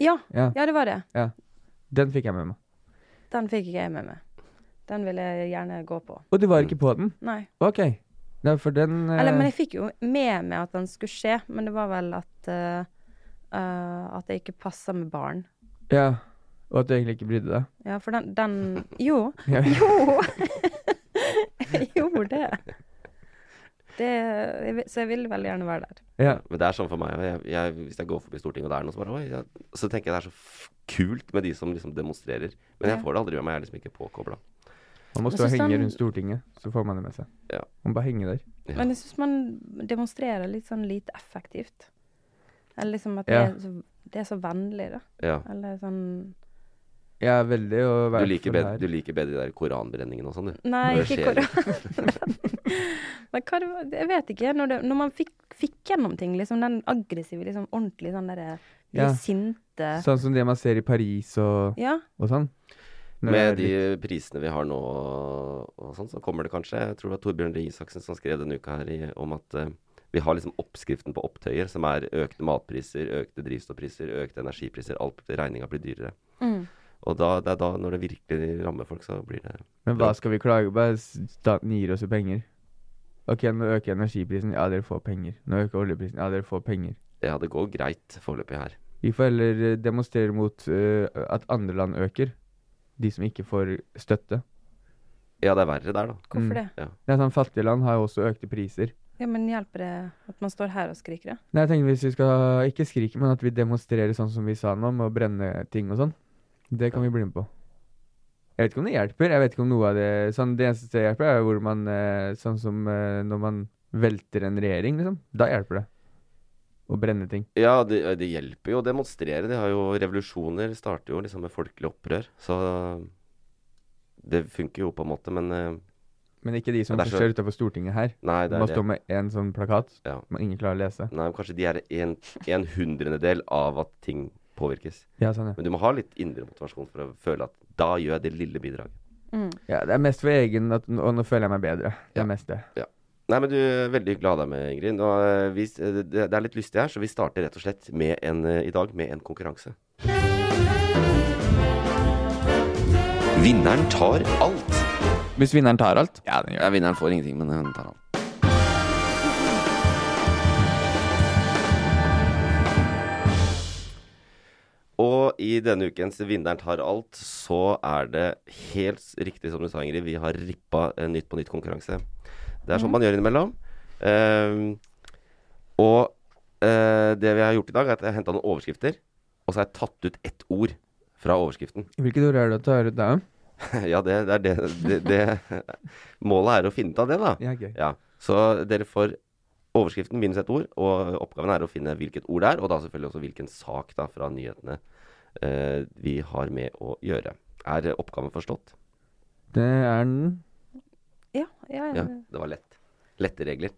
Speaker 5: Ja,
Speaker 4: Ja.
Speaker 5: ja, det var det.
Speaker 4: Den fikk jeg med meg.
Speaker 5: Den fikk ikke jeg med meg. Den ville jeg gjerne gå på.
Speaker 4: Og du var ikke på den?
Speaker 5: Nei.
Speaker 4: OK. Nei, for den eh,
Speaker 5: Eller, men jeg fikk jo med meg at den skulle skje, men det var vel at eh, eh, At jeg ikke passa med barn.
Speaker 4: eh, Ja. Og at du egentlig ikke brydde deg.
Speaker 5: Ja, for den, den Jo!
Speaker 4: Ja.
Speaker 5: Jo! jeg gjorde det. det jeg, vil- så jeg ville veldig gjerne være der.
Speaker 4: Ja.
Speaker 3: Men det er sånn for meg. Jeg, jeg, hvis jeg går forbi Stortinget og det er noe, så bare oi, ja. Så tenker jeg det er så f kult med de som liksom demonstrerer. Men jeg
Speaker 5: Ja.
Speaker 3: får det aldri med meg. Jeg er liksom ikke påkobla.
Speaker 4: Man må
Speaker 5: Men
Speaker 4: stå og
Speaker 5: så
Speaker 4: henge
Speaker 5: sånn-
Speaker 4: rundt Stortinget, så får man det med seg.
Speaker 3: Ja.
Speaker 4: Man bare henge der.
Speaker 3: Ja.
Speaker 5: Men jeg syns man demonstrerer litt sånn lite effektivt. Eller liksom at
Speaker 4: Ja.
Speaker 5: det, er så, det er så vennlig, da.
Speaker 3: Ja.
Speaker 5: Eller sånn
Speaker 4: Jeg er veldig å
Speaker 3: Du
Speaker 4: være
Speaker 3: liker,
Speaker 4: for
Speaker 3: bedre,
Speaker 4: her.
Speaker 3: du liker bedre de der koranbrenningene og sånn, du.
Speaker 5: Nei,
Speaker 3: Når det
Speaker 5: ikke
Speaker 3: skjer.
Speaker 5: korona. Men hva det var Jeg vet ikke. Når, det, når man fikk, fikk gjennom ting, liksom den aggressive, liksom ordentlig sånn derre de
Speaker 4: Ja.
Speaker 5: sinte
Speaker 4: Sånn som det man ser i Paris og,
Speaker 5: Ja.
Speaker 4: og sånn. Når
Speaker 3: Med
Speaker 4: det er litt-
Speaker 3: de prisene vi har nå og sånn, så kommer det kanskje Jeg tror det var Torbjørn Røe Isaksen som skrev denne uka her i, om at eh, vi har liksom oppskriften på opptøyer, som er økte matpriser, økte drivstoffpriser, økte energipriser. Alt regninga blir dyrere.
Speaker 5: Mm.
Speaker 3: Og da, det er da, når det virkelig rammer folk, så blir det
Speaker 4: Men hva skal vi klage på? Staten gir oss jo penger. Ok, nå øker energiprisen. Ja, dere får penger. Nå øker oljeprisen. Ja, dere får penger.
Speaker 3: Ja, det går greit foreløpig her.
Speaker 4: Vi får heller eh, demonstrere mot eh, at andre land øker. De som ikke får støtte.
Speaker 3: Ja, det er verre der, da.
Speaker 5: Hvorfor
Speaker 4: Mm.
Speaker 5: det?
Speaker 4: Det er sånn, Fattige land har jo også økte priser.
Speaker 5: Ja, Men hjelper det at man står her og skriker, da?
Speaker 4: Nei, jeg tenker hvis vi skal ikke skrike, men at vi demonstrerer sånn som vi sa nå, med å brenne ting og sånn. Det kan vi bli med på. Jeg vet ikke om det hjelper. jeg vet ikke om noe av Det sånn, det eneste som hjelper, er hvor man eh, Sånn som eh, når man velter en regjering, liksom. Da hjelper det. Å brenne ting.
Speaker 3: Ja, det, det hjelper jo å demonstrere. De har jo revolusjoner. Starter jo liksom med folkelig opprør. Så det funker jo på en måte, men eh,
Speaker 4: Men ikke de som
Speaker 3: Ja, det er så-
Speaker 4: kjører utafor Stortinget her.
Speaker 3: nei, det
Speaker 4: Man
Speaker 3: er det.
Speaker 4: står med én sånn plakat
Speaker 3: Ja.
Speaker 4: som ingen klarer å lese.
Speaker 3: Nei, men kanskje de er en, en hundrendedel av at ting påvirkes.
Speaker 4: Ja, sånn, ja.
Speaker 3: Men du må ha litt indre motivasjon for å føle at da gjør jeg det lille bidraget.
Speaker 4: ja. Det er mest for egen at Og nå føler jeg meg bedre. Det
Speaker 3: Ja.
Speaker 4: er mest det.
Speaker 3: Nei, men du er veldig glad deg med, Ingrid. Nå, eh, vi, s- det, det er litt lystig her, så vi starter rett og slett med en, eh, i dag med en konkurranse. Vinneren tar alt.
Speaker 4: Hvis vinneren tar alt Ja, den gjør det.
Speaker 3: vinneren får ingenting, men hun tar alt. Og i denne ukens Vinneren tar alt, så er det helt riktig som du sa, Ingrid. Vi har rippa en Nytt på nytt-konkurranse. Det er sånn man gjør innimellom. Ehm, og eh, det vi har gjort i dag, er at jeg har henta noen overskrifter, og så har jeg tatt ut ett ord fra overskriften.
Speaker 4: Hvilket ord er det du tar ut da?
Speaker 3: ja, det, det er det, det, det Målet er å finne ut av det, da.
Speaker 4: Ja, gøy.
Speaker 3: Ja, så dere får overskriften minus et ord, og oppgaven er å finne hvilket ord det er, og da selvfølgelig også hvilken sak da fra nyhetene eh, vi har med å gjøre. Er oppgaven forstått?
Speaker 4: Det er den.
Speaker 5: Ja, ja, ja.
Speaker 3: Ja, det var lett. Lette regler.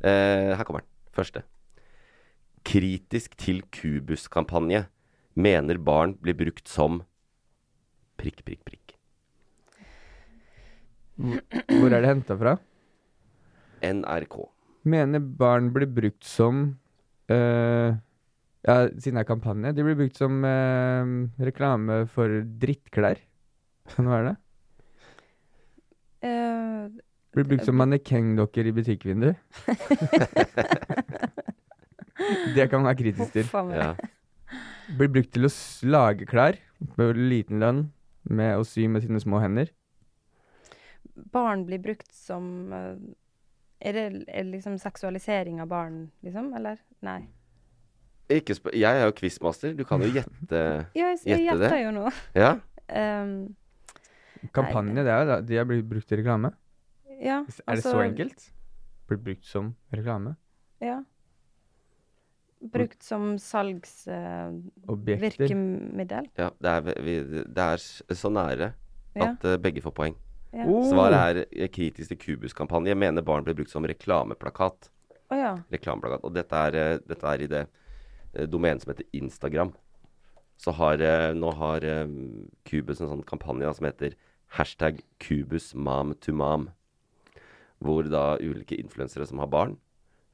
Speaker 3: Eh, her kommer den. Første. Kritisk til Kubus-kampanje. Mener barn blir brukt som prikk, prikk, prikk.
Speaker 4: Hvor er det henta fra?
Speaker 3: NRK.
Speaker 4: Mener barn blir brukt som eh, Ja, siden det er kampanje. De blir brukt som eh, reklame for drittklær. Kan det være det?
Speaker 5: Eh,
Speaker 4: Blir brukt som mannekengdokker i butikkvinduer. Det kan man være kritisk til.
Speaker 5: Huff a meg.
Speaker 3: Ja.
Speaker 4: Blir brukt til å s- lage klær på liten lønn med å sy med sine små hender.
Speaker 5: Barn blir brukt som eh, Er det er det liksom seksualisering av barn, liksom? Eller? Nei.
Speaker 3: Ikke sp jeg er jo quizmaster. Du kan jo gjette
Speaker 5: Ja, jeg, jeg
Speaker 3: Gjette det?
Speaker 5: gjetter jo nå.
Speaker 3: Ja?
Speaker 5: Ehm,
Speaker 4: Kampanje, det er jo da. De er blitt brukt til reklame.
Speaker 5: ja,
Speaker 4: Er det så
Speaker 5: altså,
Speaker 4: enkelt? Blir brukt som reklame.
Speaker 5: Ja. Brukt som salgsvirkemiddel.
Speaker 4: Objekter.
Speaker 3: ja det, er, ve- vi, det er s- så nære
Speaker 5: Ja.
Speaker 3: at eh, begge får poeng.
Speaker 5: Ja.
Speaker 4: Oh.
Speaker 3: Svaret er eh, kritisk til Kubus-kampanje. Mener barn ble brukt som reklameplakat.
Speaker 5: Å ja.
Speaker 3: reklameplakat. Og dette er, eh, dette er i det eh, domenet som heter Instagram. Så har, eh, nå har eh, Cubus en sånn kampanje da, som heter hashtag cubusmamtomam. Hvor da ulike influensere som har barn,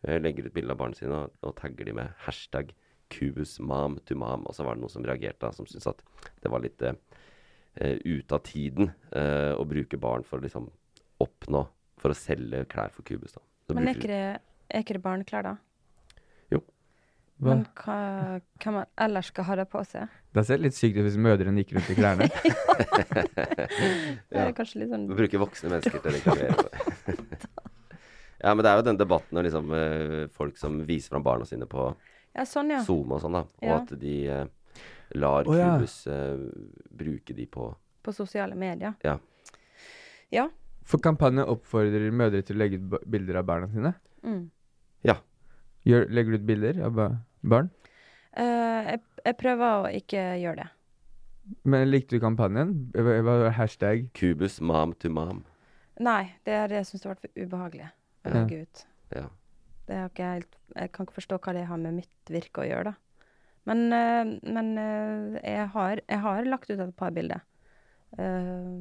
Speaker 3: eh, legger ut bilde av barna sine og, og tagger de med hashtag cubusmamtomam. Og så var det noen som reagerte, da, som syntes at det var litt eh, eh, ute av tiden eh, å bruke barn for å liksom oppnå, for å selge klær for Cubus. da. Så
Speaker 5: Men er
Speaker 3: bruker de-
Speaker 5: ikke det, er ikke det barneklær, da?
Speaker 3: Jo.
Speaker 4: Hva?
Speaker 5: Men hva kan man ellers skal ha det på seg?
Speaker 4: Det ser litt sykt ut hvis mødrene gikk rundt i klærne.
Speaker 5: Det er kanskje litt sånn
Speaker 3: Vi bruker voksne mennesker til å reklamere for. ja, men det er jo den debatten om liksom, eh, folk som viser fram barna sine på
Speaker 5: Ja, sånn, ja.
Speaker 3: SoMe og sånn, da. Og
Speaker 5: Ja.
Speaker 3: at de eh, lar
Speaker 4: Å, ja.
Speaker 3: Cubus eh, bruke de på
Speaker 5: På sosiale medier.
Speaker 3: Ja.
Speaker 5: Ja.
Speaker 4: For kampanjen oppfordrer mødre til å legge ut ba- bilder av barna sine.
Speaker 5: Mm.
Speaker 3: Ja.
Speaker 4: Gjør, legger du ut bilder av ba barn?
Speaker 5: Eh, jeg, jeg prøver å ikke gjøre det.
Speaker 4: Men likte du kampanjen? Hva hva var hashtag?
Speaker 3: Cubus mom to mom.
Speaker 5: Nei, det er det jeg syns har vært ubehagelig å
Speaker 4: Ja.
Speaker 5: legge ut.
Speaker 3: Ja.
Speaker 5: Det har ikke jeg helt, jeg kan ikke forstå hva det har med mitt virke å gjøre, da. Men, eh, men eh, jeg, har, jeg har lagt ut et par bilder eh,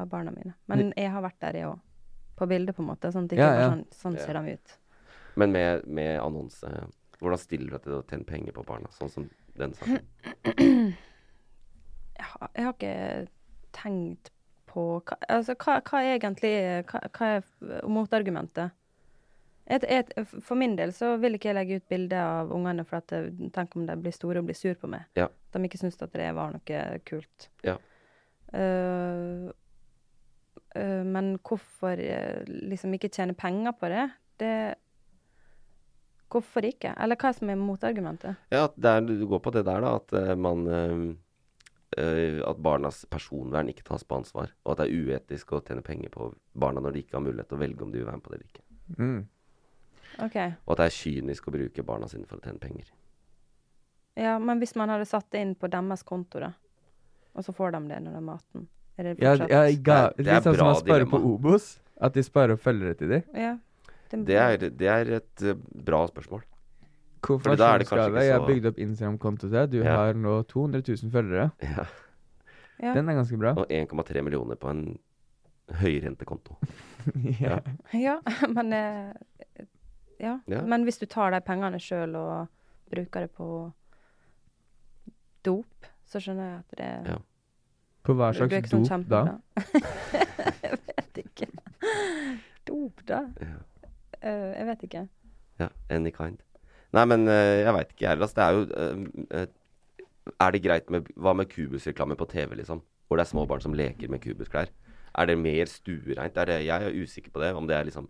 Speaker 5: av barna mine. Men jeg har vært der, jeg òg. På bildet, på en måte. Sånn at det ikke
Speaker 4: Ja,
Speaker 5: bare
Speaker 4: ja.
Speaker 5: sånn, sånn ser de ut.
Speaker 3: Men med, med annonse Hvordan stiller du deg til å tjene penger på barna, sånn som den saken?
Speaker 5: Jeg har, jeg har ikke tenkt på hva, altså, hva, hva er egentlig hva, hva er f- motargumentet? Et, et, for min del så vil ikke jeg legge ut bilde av ungene, for at jeg, tenk om de blir store og blir sur på meg.
Speaker 3: Ja.
Speaker 5: At de ikke syns at det var noe kult.
Speaker 3: Ja.
Speaker 5: Eh, eh, men hvorfor eh, liksom ikke tjene penger på det? det Hvorfor ikke? Eller hva som er motargumentet?
Speaker 3: Ja, at det er, du går på det der, da. At eh, man eh, eh, At barnas personvern ikke tas på ansvar. Og at det er uetisk å tjene penger på barna når de ikke har mulighet til å velge om de vil være med på det eller ikke.
Speaker 4: Mm.
Speaker 5: OK.
Speaker 3: Og at det er kynisk å bruke barna sine for å tjene penger.
Speaker 5: Ja, men hvis man hadde satt det inn på deres konto, da, og så får de det når de er 18 Er det
Speaker 4: Ja,
Speaker 5: fortsatt
Speaker 4: ja, ga,
Speaker 3: Det er- det er
Speaker 4: litt sånn som
Speaker 3: bra
Speaker 4: man sparer på
Speaker 3: dilemma.
Speaker 4: Obos. At de sparer opp følgere til de.
Speaker 5: ja.
Speaker 3: Det er, det er et eh, bra spørsmål. Fordi da er det kanskje
Speaker 4: Konfirmasjonsgave.
Speaker 3: ikke
Speaker 4: Jeg
Speaker 3: så-
Speaker 4: bygde opp Instagram-konto til deg. Du
Speaker 3: Ja.
Speaker 4: har nå 200 000 følgere.
Speaker 3: Ja.
Speaker 5: Ja.
Speaker 4: Den er ganske bra.
Speaker 3: Og 1,3 millioner på en høyrentekonto.
Speaker 4: ja.
Speaker 5: Ja, men eh, ja.
Speaker 3: Ja.
Speaker 5: Men hvis du tar de pengene sjøl og bruker det på dop, så skjønner jeg at det
Speaker 3: Ja.
Speaker 4: På hva
Speaker 5: Du er
Speaker 4: slags
Speaker 5: ikke sånn
Speaker 4: dop da?
Speaker 5: kjempeglad. jeg vet ikke. Dop, da?
Speaker 3: Ja.
Speaker 5: Eh, jeg vet ikke.
Speaker 3: Ja, any kind. Nei, men eh, jeg veit ikke, jeg heller. ass. Det er jo eh, eh, Er det greit med Hva med kubusreklame på TV, liksom? Hvor det er små barn som leker med kubusklær. Er det mer stuereint? Er det, jeg er usikker på det. Om det er liksom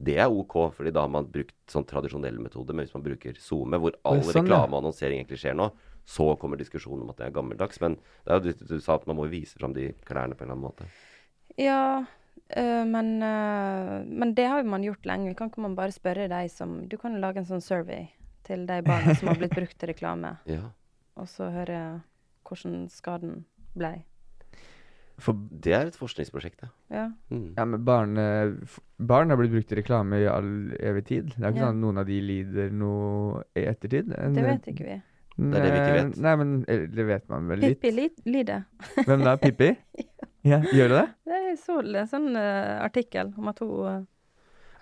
Speaker 3: Det er OK, fordi da har man brukt sånn tradisjonell metode. Men hvis man bruker SoMe, hvor all
Speaker 4: sånn, ja.
Speaker 3: reklame og annonsering egentlig skjer nå, så kommer diskusjonen om at det er gammeldags. Men det er jo det du sa, at man må jo vise fram de klærne på en eller annen måte.
Speaker 5: Ja, øh, men, øh, men det har jo man gjort lenge. Kan ikke man bare spørre de som Du kan jo lage en sånn survey til de barna som har blitt brukt til reklame,
Speaker 3: Ja.
Speaker 5: og så høre hvordan skaden ble.
Speaker 3: Det er et forskningsprosjekt, ja.
Speaker 5: Ja.
Speaker 3: Mm.
Speaker 4: Ja, men barn, eh, f- barn har blitt brukt i reklame i all evig tid. Det er ikke
Speaker 5: Ja.
Speaker 4: sånn at noen av de lider noe i ettertid.
Speaker 5: Det vet ikke vi.
Speaker 4: Det
Speaker 3: er det vi ikke vet.
Speaker 4: Nei, men eh, det vet man vel litt.
Speaker 5: Pippi li- lider.
Speaker 4: Hvem da? Pippi? ja, gjør du det?
Speaker 5: Jeg så en sånn øh, artikkel om at hun øh,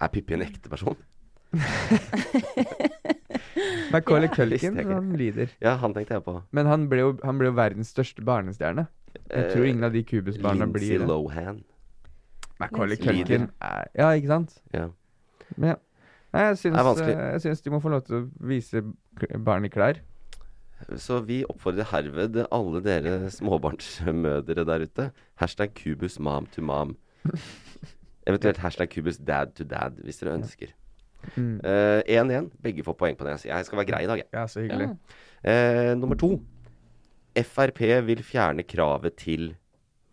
Speaker 3: Er Pippi en ekte person?
Speaker 4: Macaulay
Speaker 3: Visste
Speaker 4: Culkin
Speaker 3: jeg ikke.
Speaker 4: han lider.
Speaker 3: Ja, han tenkte jeg på.
Speaker 4: Men han ble, jo, han ble jo verdens største barnestjerne. Jeg tror ingen av de kubusbarna
Speaker 3: Eh, Lindsay
Speaker 4: blir det.
Speaker 3: Lohan.
Speaker 4: Macaulay
Speaker 5: Lindsay
Speaker 4: Culkin er Ja, ikke sant?
Speaker 3: Ja.
Speaker 4: Men ja. Nei, jeg syns,
Speaker 3: Det er vanskelig.
Speaker 4: eh, jeg syns de må få lov til å vise k- barn i klær.
Speaker 3: Så vi oppfordrer herved alle dere småbarnsmødre der ute. Hashtag kubus mom to mom. Eventuelt hashtag kubus dad to dad, hvis dere ønsker.
Speaker 4: Mm.
Speaker 3: 1-1. Begge får poeng på det. Så jeg skal være grei i dag, jeg.
Speaker 4: Ja, så hyggelig.
Speaker 3: Eh, nummer to. Frp vil fjerne kravet til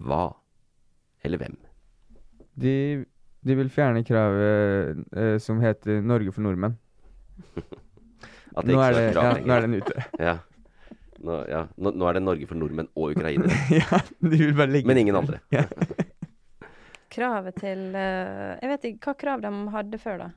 Speaker 3: hva? Eller hvem?
Speaker 4: De, de vil fjerne kravet eh, som heter 'Norge for nordmenn'.
Speaker 3: At
Speaker 4: Nå
Speaker 3: ikke
Speaker 4: er,
Speaker 3: skal være
Speaker 4: det,
Speaker 3: krav
Speaker 4: ja,
Speaker 3: lenger.
Speaker 4: nå er den ute.
Speaker 3: Ja. Nå, ja. Nå, nå er det Norge for nordmenn og ukrainere,
Speaker 4: ja, de vil bare legge
Speaker 3: men ingen andre.
Speaker 5: Kravet til eh, Jeg vet ikke hva krav de hadde før, da.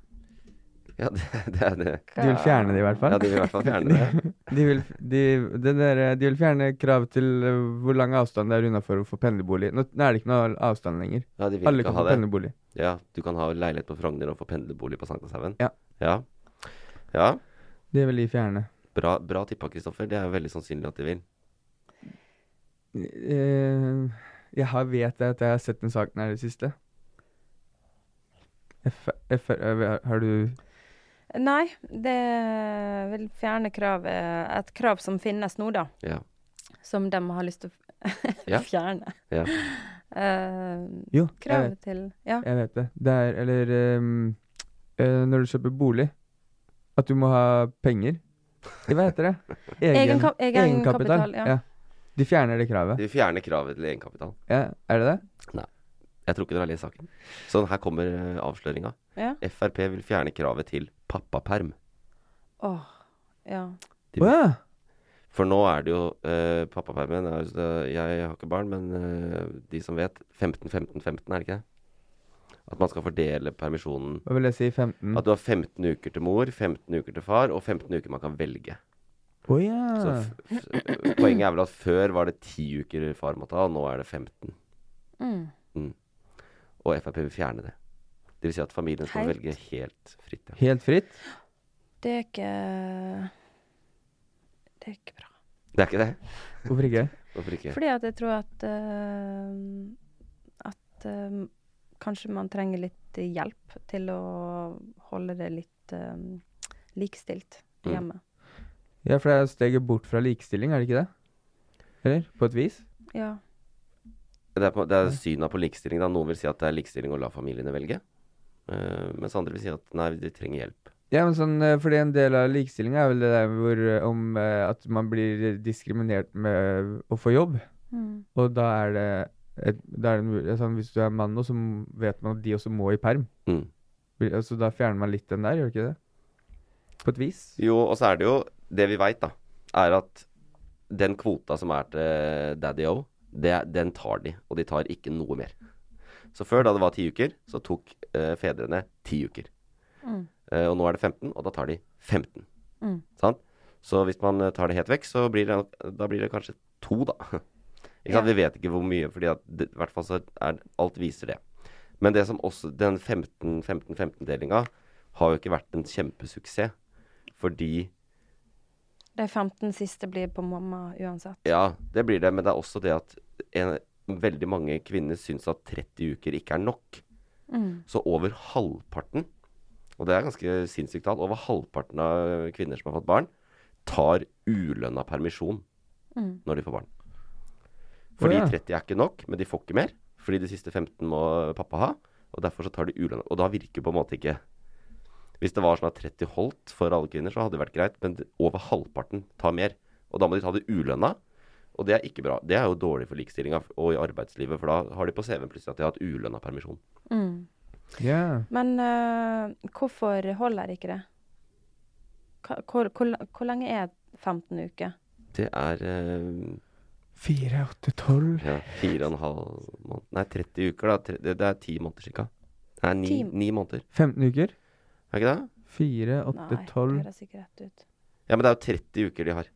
Speaker 3: Ja, det, det er det.
Speaker 4: De vil fjerne det, i hvert fall.
Speaker 3: Ja, de vil i hvert fall fjerne det.
Speaker 4: De vil, de, det der, de vil fjerne kravet til eh, hvor lang avstand det er unna for å få pendlerbolig. Nå, nå er det ikke noe avstand lenger.
Speaker 3: Ja, de vil
Speaker 4: Alle
Speaker 3: ikke
Speaker 4: kan
Speaker 3: ha
Speaker 4: få
Speaker 3: det.
Speaker 4: pendlerbolig.
Speaker 3: Ja, du kan ha leilighet på Frogner og få pendlerbolig på Sankthanshaugen.
Speaker 4: Ja.
Speaker 3: ja. Ja.
Speaker 4: Det vil de fjerne.
Speaker 3: Bra, bra tippa, Kristoffer. Det er veldig sannsynlig at de vil.
Speaker 4: Eh, jeg har vet at jeg har sett den saken her i det siste. F F har du
Speaker 5: Nei, det vil fjerne kravet Et krav som finnes nå, da.
Speaker 3: Ja.
Speaker 5: Som de har lyst til
Speaker 3: Ja.
Speaker 5: å fjerne.
Speaker 3: Ja.
Speaker 5: Eh,
Speaker 4: Jo, jeg vet,
Speaker 5: kravet til Ja.
Speaker 4: jeg vet det. Det er Eller ehm, eh, når du kjøper bolig, at du må ha penger. Det, Hva heter det?
Speaker 5: Egenka- egenkapital, ja.
Speaker 4: De fjerner det kravet.
Speaker 3: De vil fjerne kravet til egenkapital.
Speaker 4: Ja, er det det?
Speaker 3: Jeg tror ikke dere har lest saken. Så her kommer eh, avsløringa.
Speaker 5: Ja.
Speaker 3: Frp vil fjerne kravet til pappaperm.
Speaker 5: Åh, ja.
Speaker 3: De
Speaker 4: Å
Speaker 3: vil-
Speaker 4: ja.
Speaker 3: For nå er det jo eh, pappapermen er, jo det- Jeg har ikke barn, men eh, de som vet 15-15-15, er det ikke det? At man skal fordele permisjonen.
Speaker 4: Hva vil jeg si? 15?
Speaker 3: At du har 15 uker til mor, 15 uker til far og 15 uker man kan velge.
Speaker 4: Å ja.
Speaker 3: Så f f eh, poenget er vel at før var det 10 uker far måtte ha, og nå er det 15.
Speaker 5: Mm.
Speaker 3: Og Frp vil fjerne det. Det vil si at familien skal
Speaker 5: Helt.
Speaker 3: velge helt fritt. Ja.
Speaker 4: Helt fritt?
Speaker 5: Det er ikke Det er ikke bra.
Speaker 3: Det er ikke det?
Speaker 4: Hvorfor ikke?
Speaker 3: Hvorfor ikke?
Speaker 5: Fordi at jeg tror at eh, At eh, kanskje man trenger litt hjelp til å holde det litt eh, likestilt
Speaker 3: Mm.
Speaker 5: hjemme.
Speaker 4: Ja, for det er steget bort fra likestilling, er det ikke det? Eller? På et vis?
Speaker 5: Ja.
Speaker 3: Det er, på, det er synet på likestilling. Da. Noen vil si at det er likestilling å la familiene velge. Eh, mens andre vil si at nei, de trenger hjelp.
Speaker 4: Ja, men sånn, eh, fordi en del av likestillinga er vel det der hvor, eh, om eh, at man blir diskriminert med å få jobb.
Speaker 5: Mm.
Speaker 4: Og da er det, et, da er det en mul- sånn, Hvis du er mann nå, så m- vet man at de også må i perm.
Speaker 3: Mm.
Speaker 4: Blir- Altså, da fjerner man litt den der, gjør det ikke det? På et vis.
Speaker 3: Jo, og så er det jo Det vi veit, da, er at den kvota som er til Daddy O, det, den tar de. Og de tar ikke noe mer. Så før, da det var ti uker, så tok eh, fedrene ti uker.
Speaker 5: Mm.
Speaker 3: Eh, og nå er det 15, og da tar de 15.
Speaker 5: Mm.
Speaker 3: Sant? Så hvis man eh, tar det helt vekk, så blir det, da blir det kanskje to, da. Ikke
Speaker 5: Ja.
Speaker 3: sant? Vi vet ikke hvor mye, fordi at det, i hvert fall så er alt viser det. Men det som også, den 15-15-15-delinga har jo ikke vært en kjempesuksess. Fordi
Speaker 5: De 15 siste blir på mamma uansett.
Speaker 3: Ja, det blir det. Men det er også det at en, veldig mange kvinner syns at 30 uker ikke er nok.
Speaker 5: Mm.
Speaker 3: Så over halvparten, og det er ganske sinnssykt tall, over halvparten av kvinner som har fått barn, tar ulønna permisjon
Speaker 5: Mm.
Speaker 3: når de får barn. Fordi
Speaker 4: Å, ja.
Speaker 3: 30 er ikke nok, men de får ikke mer. Fordi de siste 15 må pappa ha. Og derfor så tar de ulønna. Og da virker på en måte ikke Hvis det var sånn at 30 holdt for alle kvinner, så hadde det vært greit. Men det- over halvparten tar mer. Og da må de ta det ulønna. Og det er ikke bra. Det er jo dårlig for likestillinga og i arbeidslivet, for da har de på CV-en plutselig at de har hatt ulønna permisjon.
Speaker 5: Mm.
Speaker 4: Ja.
Speaker 5: Men eh, hvorfor holder ikke det? Hva- Hvor, hvor, hvor lenge er 15 uker?
Speaker 3: Det er eh,
Speaker 4: Fire, åtte, tolv
Speaker 3: ja, fire og en halv måned Nei, 30 uker, da. Tre- Det, det er ti måneder cirka. Nei, ni,
Speaker 5: Ti-
Speaker 3: ni måneder.
Speaker 4: 15 uker?
Speaker 3: Er ikke det?
Speaker 4: Fire, åtte,
Speaker 5: Nei,
Speaker 4: tolv
Speaker 5: det høres ikke rett ut.
Speaker 3: Ja, men det er jo 30 uker de har.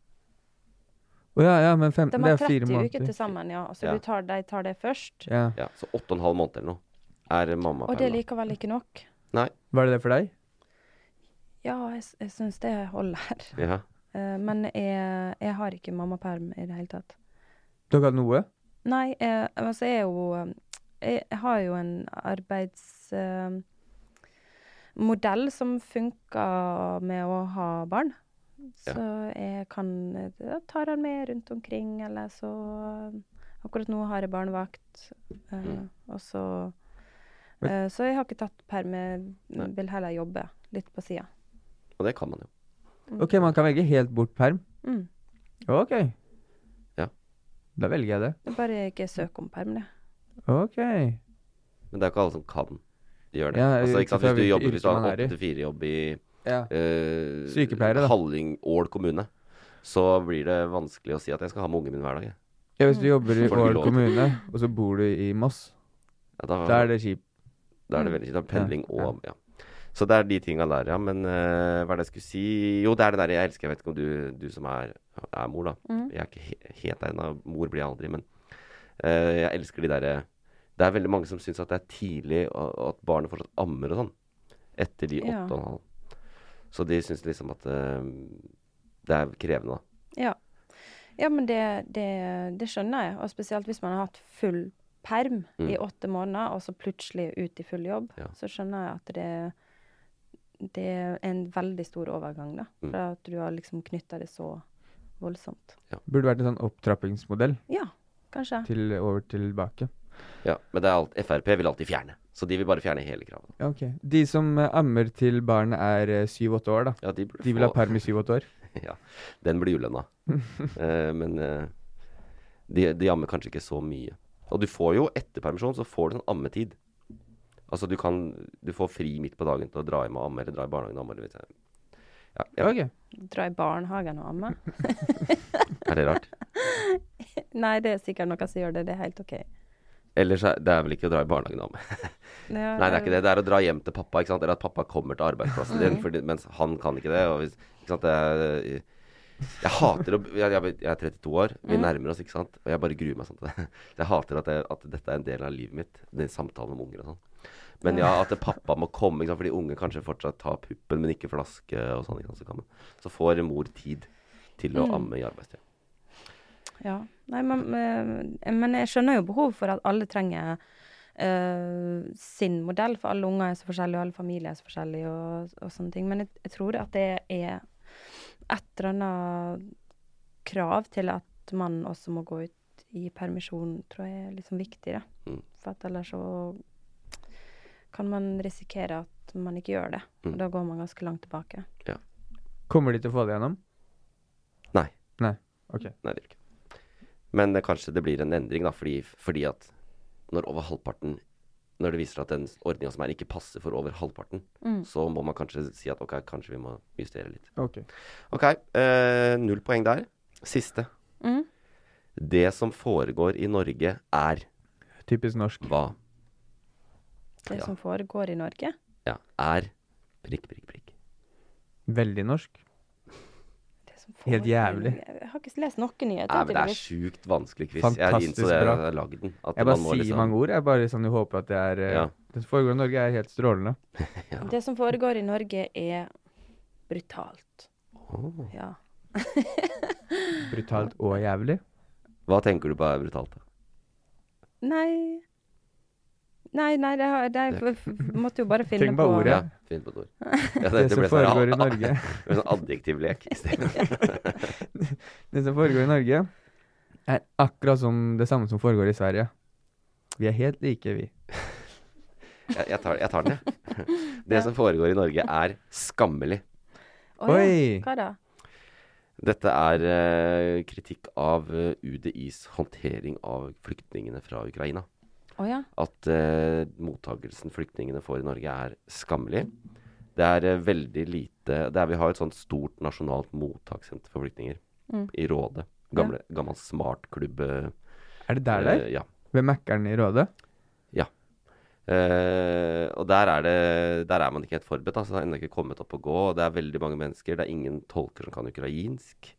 Speaker 4: Å ja, ja, men 15
Speaker 5: De
Speaker 4: Det
Speaker 5: har
Speaker 4: er fire
Speaker 5: 30 uker til
Speaker 4: måneder.
Speaker 5: sammen, ja. Altså,
Speaker 3: Ja.
Speaker 5: Du tar, de tar det først.
Speaker 4: Ja.
Speaker 3: Ja, Så åtte og en halv måned eller noe er mamma
Speaker 5: Og det er likevel ikke nok.
Speaker 4: Var det det for deg?
Speaker 5: Ja, jeg, s- jeg syns det holder.
Speaker 3: Ja.
Speaker 5: Eh, men jeg, jeg har ikke mammaperm i det hele tatt.
Speaker 4: Du har ikke hatt noe?
Speaker 5: Nei, jeg, eh, altså jeg er jo Jeg jeg har jo en arbeids... eh, modell som funker med å ha barn.
Speaker 3: Ja.
Speaker 5: Så jeg kan da tar han med rundt omkring, eller så eh, Akkurat nå har jeg barnevakt, eh,
Speaker 3: Mm.
Speaker 5: og så eh, Så jeg har ikke tatt perm, jeg vil heller jobbe litt på sida.
Speaker 3: Og det kan man jo.
Speaker 4: Ok, man kan velge helt bort perm.
Speaker 5: Mm.
Speaker 4: Ok.
Speaker 3: Ja.
Speaker 4: Da velger jeg det.
Speaker 5: Det er Bare ikke søk om perm, det.
Speaker 4: Ok.
Speaker 3: Men det er jo ikke alle som kan gjøre det.
Speaker 4: Ja,
Speaker 3: altså,
Speaker 4: ut
Speaker 3: ikke sant?
Speaker 4: fra
Speaker 3: Hvis du
Speaker 4: hvilket
Speaker 3: jobber hvis du
Speaker 4: yrke
Speaker 3: har
Speaker 4: man er i.
Speaker 3: 8-4-jobb i
Speaker 4: Ja.
Speaker 3: eh,
Speaker 4: Sykepleiere, da.
Speaker 3: Halling Ål kommune, så blir det vanskelig å si at jeg skal ha med ungen min hver dag. jeg.
Speaker 4: ja hvis du jobber i
Speaker 3: Får du ikke
Speaker 4: Ål
Speaker 3: lov til.
Speaker 4: kommune, og så bor du i Moss,
Speaker 3: Ja, da,
Speaker 4: da er det kjipt.
Speaker 3: Da er det veldig kjipt. Da er Pendling og ja. Så det er de tinga der, ja. Men eh, hva er det jeg skulle si Jo, det er det der jeg elsker. Jeg vet ikke om du, du som er, er mor, da. Jeg er ikke he helt der ennå. Mor blir jeg aldri, men eh, jeg elsker de derre Det er veldig mange som syns at det er tidlig, og, og at barnet fortsatt ammer og sånn. Etter de åtte og
Speaker 5: Ja.
Speaker 3: en halv. Så de syns liksom at eh, det er krevende, da.
Speaker 5: Ja. Ja, men det, det, det skjønner jeg. Og spesielt hvis man har hatt full perm i åtte måneder, og så plutselig ut i full jobb,
Speaker 3: Mm. Ja.
Speaker 5: så skjønner jeg at det, det er en veldig stor overgang, da.
Speaker 3: Mm.
Speaker 5: For at du har liksom knytta det så voldsomt.
Speaker 4: Burde vært en sånn opptrappingsmodell
Speaker 5: Ja, kanskje.
Speaker 4: til over tilbake.
Speaker 3: Ja, men det er alt, Frp vil alltid fjerne. Så de vil bare fjerne hele kravet.
Speaker 4: Ja, ok. De som eh, ammer til barnet er eh, syv-åtte år, da.
Speaker 3: Ja, de, burde
Speaker 4: De vil ha
Speaker 3: få-
Speaker 4: perm i syv-åtte år.
Speaker 3: Ja, den blir ulønna. Eh, men eh, de, de ammer kanskje ikke så mye. Og du får jo etter permisjon, så får du sånn ammetid. Altså du kan Du får fri midt på dagen til å dra hjem og amme, eller dra i barnehagen og amme. Eller, vet jeg. ja, ja,
Speaker 4: Ok.
Speaker 5: Dra i barnehagen og amme.
Speaker 3: Er det rart?
Speaker 5: Nei, det er sikkert noen som gjør det. Det er helt OK.
Speaker 3: Ellers er det er vel ikke å dra i barnehagen og amme. Nei, det er ikke det. Det er å dra hjem til pappa, ikke sant? eller at pappa kommer til arbeidsplassen din, fordi, mens han kan ikke det. Og hvis, ikke sant? Det er, jeg hater å jeg, jeg, jeg er 32 år, vi nærmer oss, ikke sant. Og jeg bare gruer meg sånn til det. Jeg hater at, jeg, at dette er en del av livet mitt, den samtalen om unger og sånn. Men ja, at pappa må komme, ikke sant? fordi unge kanskje fortsatt tar puppen, men ikke flaske og sånn. Ikke sant? Så, kan man, så får mor tid til å amme i arbeidstida.
Speaker 5: Ja. Nei, men, men- eh, men jeg skjønner jo behovet for at alle trenger eh, sin modell, for alle unger er så forskjellige, og alle familier er så forskjellige, og, og sånne ting. Men jeg, jeg tror at det er et eller annet krav til at man også må gå ut i permisjon, tror jeg er liksom viktig, da.
Speaker 3: Mm.
Speaker 5: For at ellers så kan man risikere at man ikke gjør det.
Speaker 3: Mm.
Speaker 5: Og da går man ganske langt tilbake.
Speaker 4: Kommer de til å få det gjennom?
Speaker 3: Nei.
Speaker 4: Nei. Ok.
Speaker 3: Nei, det gjør det ikke. Men eh, kanskje det blir en endring, da, fordi, fordi at når over halvparten Når det viser at den ordninga som er, ikke passer for over halvparten, så må man kanskje si at ok, kanskje vi må justere litt.
Speaker 4: Mm. Ok.
Speaker 3: Ok, eh, null poeng der. Siste.
Speaker 5: Mm.
Speaker 3: Det som foregår i Norge, er
Speaker 4: Typisk norsk.
Speaker 3: hva?
Speaker 5: Det
Speaker 3: Ja.
Speaker 5: som foregår i Norge.
Speaker 3: Ja, er prikk, prikk, prikk.
Speaker 4: Veldig norsk.
Speaker 5: Det som
Speaker 4: Helt
Speaker 5: foregår i
Speaker 4: jævlig.
Speaker 5: Norge. Jeg har ikke lest noen nyheter.
Speaker 3: Nei, men det er
Speaker 5: tydeligvis.
Speaker 3: sjukt vanskelig quiz. jeg
Speaker 4: Fantastisk
Speaker 3: innså det da
Speaker 4: bra.
Speaker 3: jeg lagde den. at man
Speaker 4: Jeg bare
Speaker 3: må
Speaker 4: sier
Speaker 3: liksom-
Speaker 4: mange ord. Jeg bare sånn, jeg håper at det er eh,
Speaker 3: Ja.
Speaker 4: Det som foregår i Norge, er helt strålende.
Speaker 5: Det som foregår i Norge, er brutalt. Ja.
Speaker 4: Brutalt og jævlig.
Speaker 3: Hva tenker du på er brutalt? da?
Speaker 5: Nei Nei, nei, det, har, det jeg måtte jo bare finne
Speaker 4: Tenk bare
Speaker 5: på
Speaker 4: ordet.
Speaker 3: Ja, finn på et ord. Ja,
Speaker 4: Det
Speaker 3: dette
Speaker 4: som
Speaker 3: ble sånn-
Speaker 4: foregår i Norge.
Speaker 3: En sånn adjektivlek i stedet.
Speaker 4: Det som foregår i Norge, er akkurat som det samme som foregår i Sverige. Vi er helt like, vi.
Speaker 3: Jeg, jeg, tar, jeg tar den, jeg. Det som foregår i Norge, er skammelig.
Speaker 5: Å ja,
Speaker 4: Oi.
Speaker 5: Hva da?
Speaker 3: Dette er eh, kritikk av eh, UDIs håndtering av flyktningene fra Ukraina.
Speaker 5: Å ja.
Speaker 3: At eh, mottagelsen flyktningene får i Norge, er skammelig. Det er eh, veldig lite det er, Vi har et sånt stort nasjonalt mottakssenter for flyktninger
Speaker 4: Mm.
Speaker 3: i Råde. Gamle, Gammel smartklubb. eh,
Speaker 4: Er det der, der?
Speaker 3: eh, ja.
Speaker 4: Ved Mækkern i Råde?
Speaker 3: Eh, og der er, det, der er man ikke helt forberedt. Altså, det har ennå ikke kommet opp å gå. og Det er veldig mange mennesker. Det er ingen tolker som kan ukrainsk.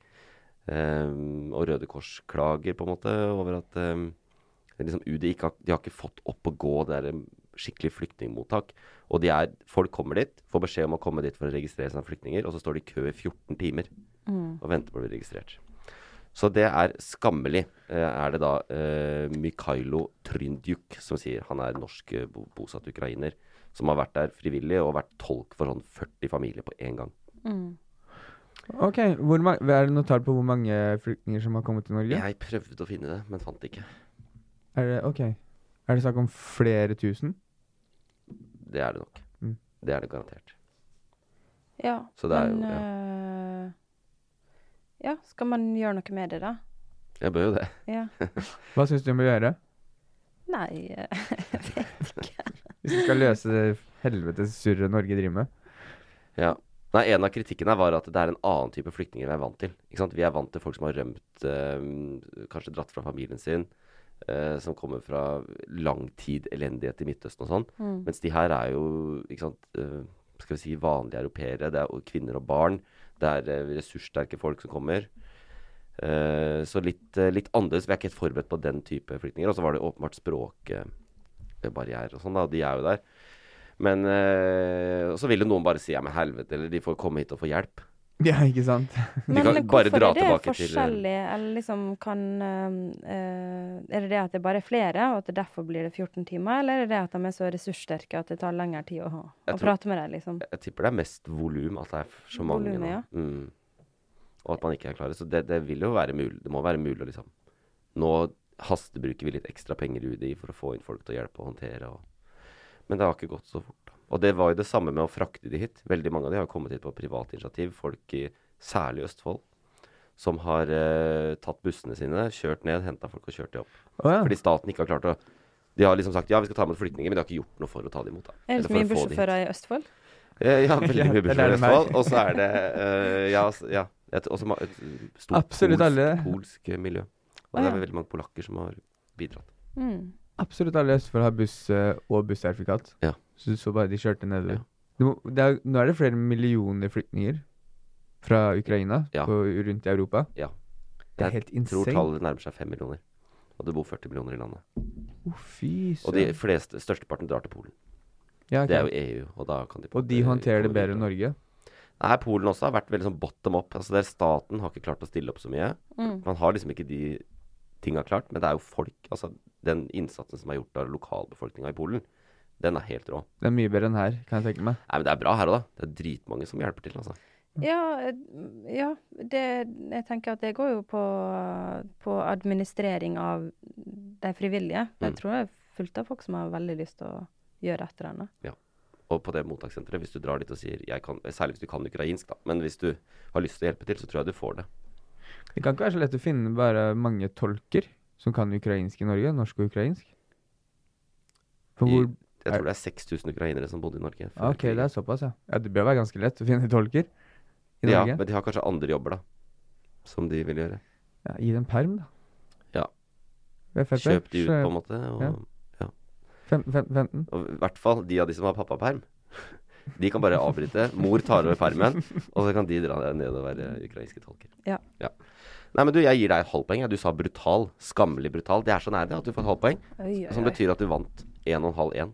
Speaker 3: Ehm, og Røde Kors klager på en måte over at ehm, liksom UDI ikke har, de har ikke fått opp å gå. Det er em, skikkelig flyktningmottak. Og de er, folk kommer dit, får beskjed om å komme dit for å registrere seg som flyktninger, og så står de i kø i 14 timer og venter på å bli registrert. Så det er skammelig, eh, er det da eh, Mikhailo Tryndjuk som sier. Han er norsk eh, bo- bosatt ukrainer som har vært der frivillig og vært tolk for sånn 40 familier på én gang.
Speaker 4: Ok, hvor ma Er det noe tall på hvor mange flyktninger som har kommet til Norge?
Speaker 3: Jeg prøvde å finne det, men fant det ikke.
Speaker 4: Er det, ok. Er det snakk om flere tusen?
Speaker 3: Det er det nok.
Speaker 4: Mm.
Speaker 3: Det er det garantert.
Speaker 5: Ja,
Speaker 3: Så det er jo-
Speaker 5: men eh, Ja, skal man gjøre noe med det, da?
Speaker 3: Jeg bør jo det.
Speaker 5: Ja.
Speaker 4: Hva syns du vi må gjøre
Speaker 5: Nei eh,
Speaker 4: hvis vi skal løse det helvetes surret Norge driver med?
Speaker 3: Ja. Nei, En av kritikkene her var at det er en annen type flyktninger vi er vant til. Ikke sant? Vi er vant til folk som har rømt, eh, kanskje dratt fra familien sin, eh, som kommer fra lang tid elendighet i Midtøsten og sånn.
Speaker 5: Mm.
Speaker 3: Mens de her er jo ikke sant, eh, skal vi si vanlige europeere. Det er jo kvinner og barn. Det er eh, ressurssterke folk som kommer. Eh, så litt, eh, litt annerledes. Vi er ikke helt forberedt på den type flyktninger. Og så var det åpenbart språkbarrierer og sånn, da. De er jo der. Men eh, og så vil jo noen bare si ja, men helvete, eller de får komme hit og få hjelp.
Speaker 4: Ja, ikke sant?
Speaker 5: Men
Speaker 3: kan bare
Speaker 5: hvorfor
Speaker 3: dra
Speaker 5: er det
Speaker 3: tilbake til- eh,
Speaker 5: forskjellig, eller liksom kan eh, eh, Er det det at det bare er flere, og at det derfor blir det 14 timer, eller er det det at de er så ressurssterke at det tar lengre tid å, ha-
Speaker 3: Jeg
Speaker 5: å
Speaker 3: tror-
Speaker 5: prate med dem, liksom?
Speaker 3: Jeg tipper det er mest volum, at det er f- så mange
Speaker 5: Volumet,
Speaker 3: nå.
Speaker 5: ja.
Speaker 3: Mm. Og at man ikke er klare. Så det, det vil jo være mulig. Det må være mulig å liksom Nå hastebruker vi litt ekstra penger i UDI for å få inn folk til å hjelpe og håndtere. Og, men det har ikke gått så fort. da. Og det var jo det samme med å frakte de hit. Veldig mange av de har kommet hit på privat initiativ. Folk i særlig Østfold. Som har eh, tatt bussene sine, kjørt ned, henta folk og kjørt de opp.
Speaker 4: Å ja.
Speaker 3: Fordi staten ikke har klart å De har liksom sagt ja, vi skal ta imot flyktninger, men de har ikke gjort noe for å ta dem imot. Da.
Speaker 5: Er
Speaker 3: Eller for
Speaker 5: det så
Speaker 3: å
Speaker 5: mye
Speaker 3: få de hit.
Speaker 5: bussjåfører i Østfold?
Speaker 3: Eh, Ja, veldig
Speaker 4: Ja,
Speaker 3: mye
Speaker 4: det
Speaker 3: bursdag i
Speaker 4: lærer meg.
Speaker 3: Vestfold. Og så er det eh, ja, s- ja, et, også ma- et stort
Speaker 4: Absolutt
Speaker 3: polsk,
Speaker 4: alle.
Speaker 3: polsk eh, miljø. Og
Speaker 5: Å,
Speaker 3: det er
Speaker 5: ja.
Speaker 3: veldig mange polakker som har bidratt.
Speaker 5: Mm.
Speaker 4: Absolutt alle i Østfold har buss eh, og bussertifikat.
Speaker 3: Ja.
Speaker 4: Så du så bare de kjørte nedover.
Speaker 3: Ja.
Speaker 4: Det må- Det er, nå er det flere millioner flyktninger fra Ukraina
Speaker 3: Ja.
Speaker 4: på, rundt i Europa.
Speaker 3: Ja.
Speaker 4: Det er
Speaker 3: Jeg
Speaker 4: helt
Speaker 3: Tror
Speaker 4: insane.
Speaker 3: tallet nærmer seg fem millioner. Og det bor 40 millioner i landet.
Speaker 4: Å, fy
Speaker 3: Og de
Speaker 4: søren.
Speaker 3: fleste, størsteparten drar til Polen.
Speaker 4: Ja, ok.
Speaker 3: Det er jo EU, og da kan de på en
Speaker 4: Og de
Speaker 3: måte
Speaker 4: håndterer det
Speaker 3: komme
Speaker 4: bedre enn
Speaker 3: videre.
Speaker 4: Norge.
Speaker 3: Nei, Polen også har vært veldig sånn bottom up. Altså der Staten har ikke klart å stille opp så mye.
Speaker 5: mm.
Speaker 3: Man har liksom ikke de tinga klart, men det er jo folk. Altså den innsatsen som er gjort av lokalbefolkninga i Polen, den er helt rå.
Speaker 4: Det er mye bedre enn her, kan jeg tenke meg.
Speaker 3: Nei, men det er bra her òg, da. Det er dritmange som hjelper til, altså.
Speaker 5: Ja, eh, ja det, jeg tenker at det går jo på, på administrering av de frivillige. Men
Speaker 3: Mm.
Speaker 5: Jeg tror det er fullt av folk som har veldig lyst til å gjøre et eller annet.
Speaker 3: Og på det mottakssenteret, hvis du drar dit og sier jeg kan, Særlig hvis du kan ukrainsk, da. Men hvis du har lyst til å hjelpe til, så tror jeg du får det.
Speaker 4: Det kan ikke være så lett å finne bare mange tolker som kan ukrainsk i Norge. Norsk og ukrainsk. For
Speaker 3: I-
Speaker 4: hvor
Speaker 3: Jeg tror det er 6000 ukrainere som bodde i Norge. før
Speaker 4: Ah, Ok, det
Speaker 3: krigen.
Speaker 4: er såpass, ja. ja. Det bør være ganske lett å finne tolker i
Speaker 3: ja,
Speaker 4: Norge.
Speaker 3: men de har kanskje andre jobber, da. Som de vil gjøre.
Speaker 4: Ja, gi dem perm, da.
Speaker 3: Ja.
Speaker 4: Ved Frp,
Speaker 3: Kjøp de ut,
Speaker 4: så-
Speaker 3: på en måte. Og,
Speaker 4: Ja. Fem, fem, 15?
Speaker 3: og i hvert fall de av de som har pappaperm. De kan bare avbryte. Mor tar over permen, og så kan de dra ned og være ukrainske tolker.
Speaker 5: Ja.
Speaker 3: Nei, men du, jeg gir deg et halvt poeng. jeg. Du sa brutal. Skammelig brutal. Det er så nær det at du får et halvt poeng.
Speaker 5: Oi, oi,
Speaker 3: Som
Speaker 5: oi.
Speaker 3: betyr at du vant 1,5-1.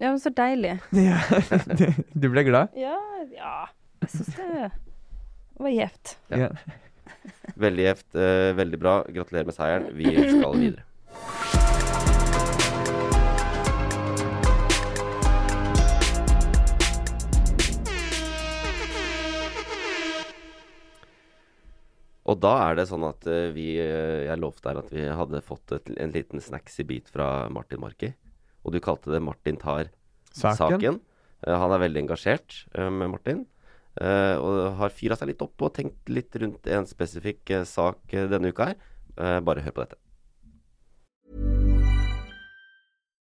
Speaker 5: Ja, men så deilig.
Speaker 4: Ja. du ble glad?
Speaker 5: Ja, ja. Jeg syns det var gjevt.
Speaker 3: Ja.
Speaker 4: Ja.
Speaker 3: Veldig gjevt. eh, veldig bra. Gratulerer med seieren. Vi skal videre. Og da er det sånn at eh, vi eh, Jeg lovte her at vi hadde fått et, en liten snacks i bit fra Martin Marki. Og du kalte det 'Martin tar
Speaker 4: Saken.
Speaker 3: saken'. Eh, han er veldig engasjert eh, med Martin. eh, og har fyra seg litt opp og tenkt litt rundt en spesifikk eh, sak eh, denne uka her. Eh, bare hør på dette.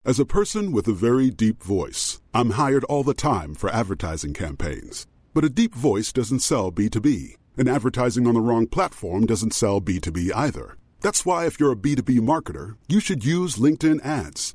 Speaker 6: As a person with a very deep voice, I'm hired all the time for advertising campaigns. But a deep voice doesn't sell B2B, and advertising on the wrong platform doesn't sell B2B either. That's why, if you're a B2B marketer, you should use LinkedIn ads.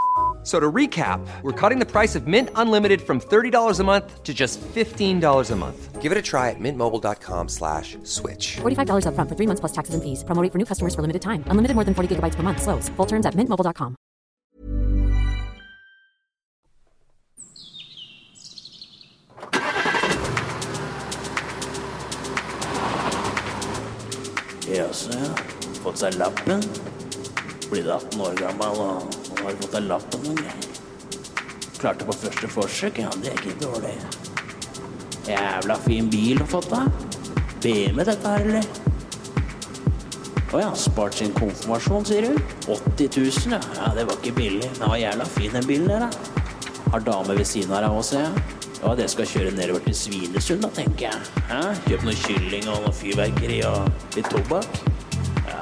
Speaker 1: a-" So to recap, we're cutting the price of Mint Unlimited from $30 a month to just $15 a month. Give it a try at mintmobile.com slash switch.
Speaker 2: $45 upfront for three months plus taxes and fees. Promo rate for new customers for limited time. Unlimited more than 40 gigabytes per month. Slows. Full terms at mintmobile.com.
Speaker 7: Jøse, fått seg lappen. Blitt 18 år gammel og og har fått seg lappen noen gang. Klarte på første forsøk, ja, det er ikke dårlig. Jævla fin bil å fått da. BMW dette her, eller? Å ja, spart sin konfirmasjon, sier du? 80 000, ja. ja. Det var ikke billig. Den var jævla fin, den bilen der, da. Har dame ved siden av deg òg, ser jeg. Ja, dere skal kjøre nedover til Svinesund, da, tenker jeg. Hæ? Kjøp noe kylling og noe fyrverkeri og litt tobakk. Ja.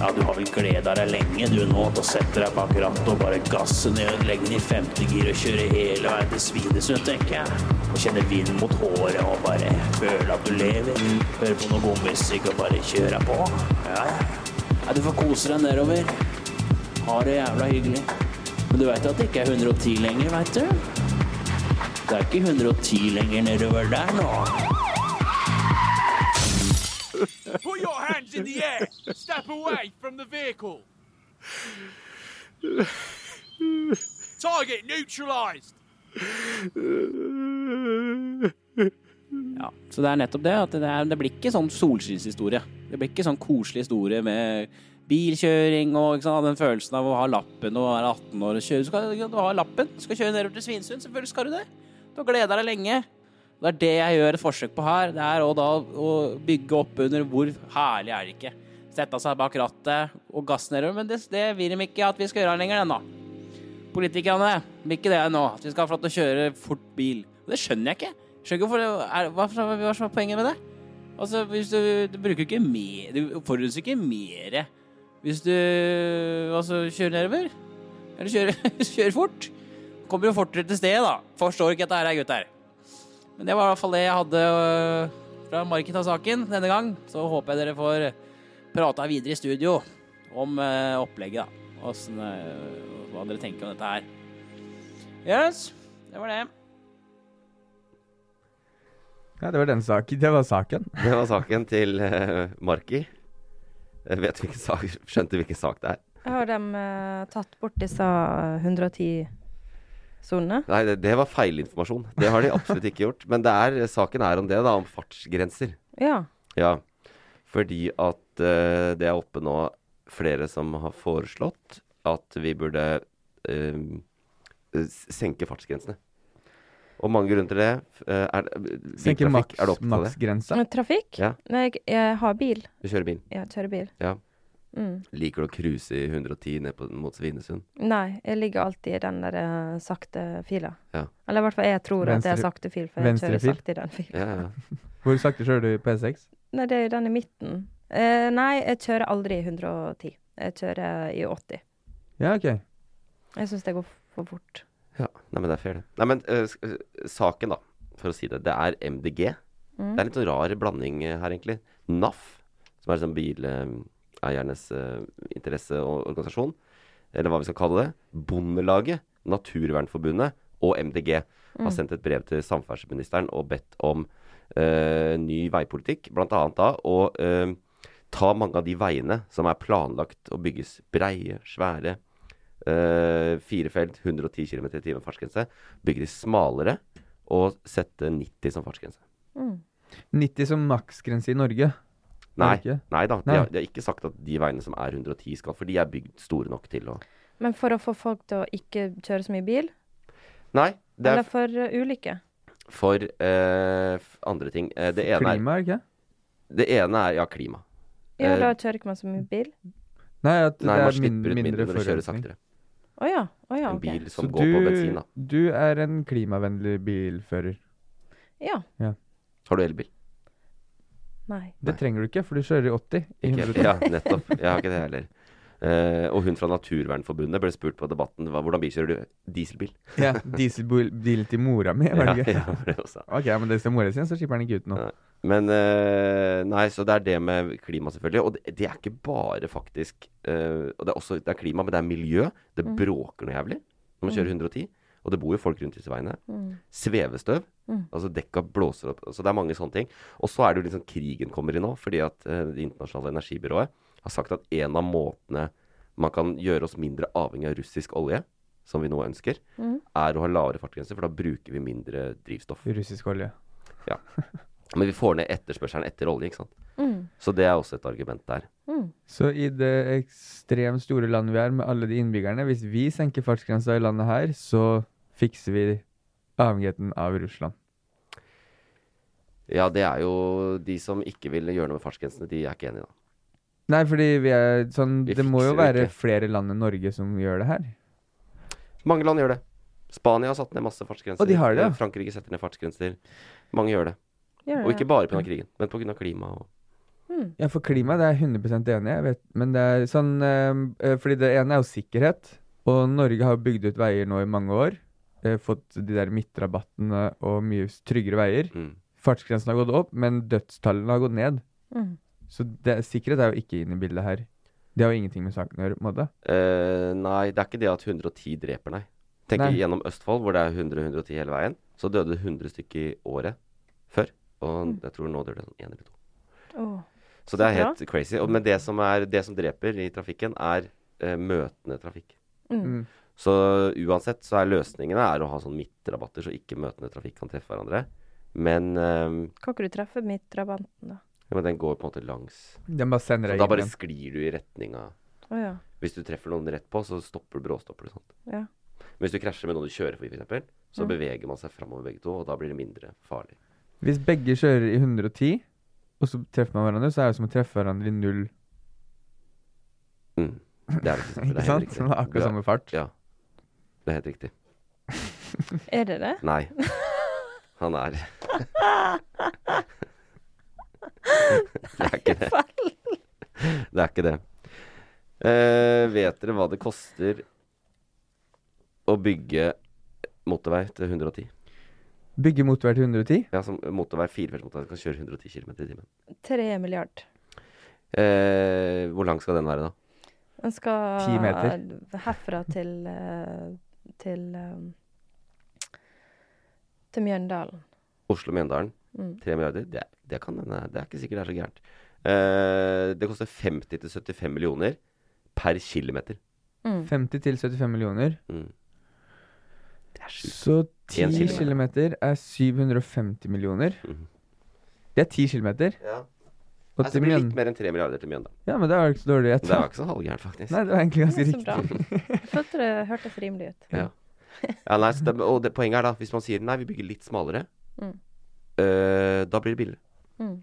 Speaker 7: ja, du har vel gleda deg lenge, du nå, til å sette deg bak rattet og bare gasse ned, legge den i femte gir og kjøre hele veien til Svinesund, tenker jeg. Og kjenne vind mot håret og bare føle at du lever. Høre på noe god musikk og bare kjøre på. Ja, ja. ja du får kose deg nedover. Ha det jævla hyggelig. Men du veit at det ikke er 110 lenger, veit du? Det er ikke 110 lenger nedover der nå.
Speaker 8: Put your hands in the air. Step away from the vehicle. Target neutralized.
Speaker 7: Ja, Så det er nettopp det. at Det, er, det blir ikke sånn solskinnshistorie. Det blir ikke sånn koselig historie med bilkjøring og ikke sant, den følelsen av å ha lappen og være 18 år og kjøre. Du skal, du har lappen, du skal kjøre nedover til Svinesund. Selvfølgelig skal du det. Du har gleda deg lenge. Det er det jeg gjør et forsøk på her. Det er å, da, å bygge opp under hvor herlig er det ikke. Sette seg bak rattet og gasse nedover. Men det, det vil de ikke at vi skal gjøre lenger ennå. Politikerne vil ikke det nå. At vi skal få lov til å kjøre fort bil. Det skjønner jeg ikke. Skjønner ikke hvorfor det er, hva, hva, hva som er poenget med det? Altså, hvis du, du bruker ikke mer Du forurenser ikke mer hvis du altså, kjører nedover. Eller kjører, kjører fort. Kommer jo fortere til stedet, da. Forstår ikke dette her, gutter. Men det var i hvert fall det jeg hadde øh, fra Market av saken denne gang. Så håper jeg dere får prata videre i studio om øh, opplegget, da. Åssen, øh, hva dere tenker om dette her. Yes, det var det.
Speaker 4: Ja, det var den saken. Det var saken.
Speaker 3: Det var saken til eh, Marki. Jeg vet hvilken sak, skjønte hvilken sak det er.
Speaker 5: Har de eh, tatt bort disse eh, 110-sonene?
Speaker 3: Nei, det, det var feilinformasjon. Det har de absolutt ikke gjort. Men det er, saken er om det, da. Om fartsgrenser.
Speaker 5: Ja.
Speaker 3: Ja. Fordi at eh, det er oppe nå flere som har foreslått at vi burde eh, s- senke fartsgrensene. Og mange grunner til det. F- eh, er, det- biltrafikk,
Speaker 4: Senke
Speaker 3: er du
Speaker 4: maks,
Speaker 3: opptatt av det?
Speaker 4: maksgrensa.
Speaker 5: Men Trafikk?
Speaker 3: Ja.
Speaker 5: Nei, jeg, jeg har bil.
Speaker 3: Du kjører bil.
Speaker 5: Jeg kjører bil.
Speaker 3: Ja.
Speaker 5: Mm.
Speaker 3: Liker du å cruise i 110 ned på, mot Svinesund?
Speaker 5: Nei, jeg ligger alltid i den der eh, sakte fila.
Speaker 3: Ja.
Speaker 5: Eller i hvert fall jeg tror at jeg
Speaker 4: Venstre-
Speaker 5: har sakte fil, for jeg kjører
Speaker 4: venstrefil?
Speaker 5: sakte i den filen.
Speaker 3: Ja, ja.
Speaker 4: Hvor sakte kjører du på E6?
Speaker 5: Nei, det er jo den i midten. Eh, nei, jeg kjører aldri i 110. Jeg kjører eh, i 80.
Speaker 4: Ja, ok.
Speaker 5: Jeg syns det går for fort.
Speaker 3: Ja, nei, men det er fair, det. Nei, men øh, sk- øh, saken, da, for å si det. Det er MDG. Det er en litt sånn rar blanding eh, her, egentlig. NAF, som er sånn bileiernes eh, interesseorganisasjon, eller hva vi skal kalle det. Bondelaget, Naturvernforbundet og MDG har sendt et brev til samferdselsministeren og bedt om eh, ny veipolitikk, blant annet da å eh, ta mange av de veiene som er planlagt å bygges. Breie, svære, eh, fire felt, 110 km i timen fartsgrense. Bygge de smalere og sette 90 som fartsgrense.
Speaker 4: 90 som maksgrense i Norge.
Speaker 3: Nei,
Speaker 4: Norge?
Speaker 3: nei da. De
Speaker 4: Nei.
Speaker 3: har, de har ikke sagt at de veiene som er 110 skal, for de er bygd store nok til å
Speaker 5: Men for å få folk til å ikke kjøre så mye bil?
Speaker 3: Nei. Det
Speaker 5: Eller
Speaker 3: er,
Speaker 5: for eh, ulykker?
Speaker 3: for eh, f- andre ting. Eh, det, ene er,
Speaker 4: Klima, er det ikke? det?
Speaker 3: det ene er ja, klima.
Speaker 5: Ja,
Speaker 3: Eh,
Speaker 5: da kjører ikke man så mye bil.
Speaker 4: Nei, at
Speaker 3: Nei,
Speaker 4: det
Speaker 3: man
Speaker 4: er
Speaker 3: slipper
Speaker 4: min,
Speaker 3: ut mindre når
Speaker 4: mindre
Speaker 3: du kjører
Speaker 4: forurensning.
Speaker 3: saktere.
Speaker 5: Å ja. Å ja.
Speaker 3: En
Speaker 5: ok.
Speaker 3: bil som
Speaker 4: Så
Speaker 3: går på bensin, da.
Speaker 4: du er en klimavennlig bilfører.
Speaker 5: Ja.
Speaker 3: Har du elbil?
Speaker 5: Nei.
Speaker 4: Det trenger du ikke, for du kjører i 80. I
Speaker 3: Ikke,
Speaker 4: 100.
Speaker 3: ja, nettopp. Jeg har ikke det heller. Eh, og hun fra Naturvernforbundet ble spurt på Debatten hva, hvordan bilkjører du dieselbil.
Speaker 4: ja, dieselbil bil til mora mi, var det ikke?
Speaker 3: ja, var det hun sa.
Speaker 4: Ok, men det er mora sin, så slipper han ikke ut nå.
Speaker 3: Nei. Men eh, Nei, så det er det med klima, selvfølgelig. Og det, det er ikke bare faktisk eh, Og det er også det er klima, men det er miljø. Det bråker noe jævlig når man kjører 110. Og det bor jo folk rundt disse veiene. Svevestøv. Altså dekka blåser opp. Så det er mange sånne ting. Og så er det jo liksom krigen kommer inn nå, fordi at eh, Det internasjonale energibyrået har sagt at en av måtene man kan gjøre oss mindre avhengig av russisk olje, som vi nå ønsker, er å ha lavere fartsgrenser, for da bruker vi mindre drivstoff.
Speaker 4: Russisk olje.
Speaker 3: Men vi får ned etterspørselen etter olje, ikke sant. Så det er også et argument der.
Speaker 4: Så i det ekstremt store landet vi er, med alle de innbyggerne, hvis vi senker fartsgrensa i landet her, så fikser vi avhengigheten av Russland.
Speaker 3: Ja, det er jo de som ikke vil gjøre noe med fartsgrensene, de er ikke enige, da.
Speaker 4: Nei, fordi vi er sånn
Speaker 3: Vi
Speaker 4: Det må jo
Speaker 3: fikser det
Speaker 4: være
Speaker 3: ikke.
Speaker 4: flere land enn Norge som gjør det her.
Speaker 3: Mange land gjør det. Spania har satt ned masse fartsgrenser. Eh,
Speaker 4: Og de har det, ja.
Speaker 3: Frankrike setter ned fartsgrenser. Mange gjør det.
Speaker 5: Gjør
Speaker 3: Og
Speaker 5: det
Speaker 3: ikke
Speaker 5: det?
Speaker 3: bare pga. krigen, men pga. klima og
Speaker 4: Ja, for klima, det er jeg 100 enig i, jeg vet. Men det er sånn eh, eh, Fordi det ene er jo sikkerhet. Og Norge har bygd ut veier nå i mange år. eh, fått de der midtrabattene og mye s- tryggere veier.
Speaker 3: mm.
Speaker 4: Fartsgrensen har gått opp, men dødstallene har gått ned.
Speaker 5: Mm.
Speaker 4: Så det, sikkerhet er jo ikke inne i bildet her. Det har jo ingenting med saken å gjøre. på en måte.
Speaker 3: Eh, Nei, det er ikke det at 110 dreper, nei. Tenk
Speaker 4: Nei.
Speaker 3: gjennom Østfold, hvor det er 100-110 hele veien. Så døde det 100 stykker i året før. Og jeg tror nå dør det sånn én eller to.
Speaker 5: Åh.
Speaker 3: Så det er
Speaker 5: Så bra.
Speaker 3: helt crazy. Og, men det som, er, det som dreper i trafikken, er eh, møtende trafikk.
Speaker 4: Mm.
Speaker 3: Så uansett så er løsningene er å ha sånn midtrabatter, så ikke møtende trafikk kan treffe hverandre. Men, eh,
Speaker 5: Kan ikke du treffe midtrabanten, da?
Speaker 3: ja, men den går på en måte langs.
Speaker 4: Den bare sender
Speaker 3: Så
Speaker 4: deg
Speaker 3: da bare
Speaker 4: igjen.
Speaker 3: sklir du i retning av
Speaker 5: Å ja.
Speaker 3: Hvis du treffer noen rett på, så stopper du bråstopper du. Sant?
Speaker 5: Ja. Mm.
Speaker 3: Men hvis du krasjer med noen du kjører forbi, f.eks., så beveger man seg framover begge to, og da blir det mindre farlig.
Speaker 4: Hvis begge kjører i 110, og så treffer man hverandre, så er det som å treffe hverandre i null.
Speaker 3: Mm. Det er det ikke, det
Speaker 4: Ikke
Speaker 3: er helt
Speaker 4: sant?
Speaker 3: riktig.
Speaker 4: Som er
Speaker 3: Du er-
Speaker 4: akkurat samme fart.
Speaker 3: Ja. Det er helt riktig.
Speaker 5: Er det det?
Speaker 3: Nei. Han er Det er ikke det. Det er ikke det. Eh, vet dere hva det koster å bygge motorvei til 110?
Speaker 4: Bygge motorvei til 110.
Speaker 3: Ja, som motorvei, firefelts motorvei, kan kjøre 110 km i timen.
Speaker 5: Tre milliard.
Speaker 3: Eh, hvor lang skal den være, da?
Speaker 5: Den skal
Speaker 4: Ti meter.
Speaker 5: herfra til eh, til eh, til Mjøndalen.
Speaker 3: Oslo-Mjøndalen,
Speaker 5: Mm.
Speaker 3: 3 milliarder. Det, det kan hende. Det er ikke sikkert det er så gærent. Eh, det koster 50-75 millioner per kilometer.
Speaker 4: 50 til 75 millioner.
Speaker 3: Mm.
Speaker 4: Så 10
Speaker 3: En kilometer.
Speaker 4: kilometer er 750 millioner.
Speaker 3: Mhm.
Speaker 4: Det er 10 kilometer.
Speaker 3: Ja. Nei, så
Speaker 4: Og til
Speaker 3: Altså, det blir
Speaker 4: Mjøn-
Speaker 3: litt mer enn 3 milliarder til Mjøndalen.
Speaker 4: Ja, men det var ikke så dårlig
Speaker 3: Det var
Speaker 4: gjett.
Speaker 3: ikke så halvgærent, faktisk.
Speaker 4: Nei, det var egentlig ganske
Speaker 5: Ja, så bra.
Speaker 4: riktig.
Speaker 5: Jeg følte det hørtes rimelig ut.
Speaker 3: Ja. Ja, nei, så det, og det, poenget er da, hvis man sier nei, vi bygger litt smalere,
Speaker 5: Mm.
Speaker 3: øh, da blir det billigere.
Speaker 5: Mm.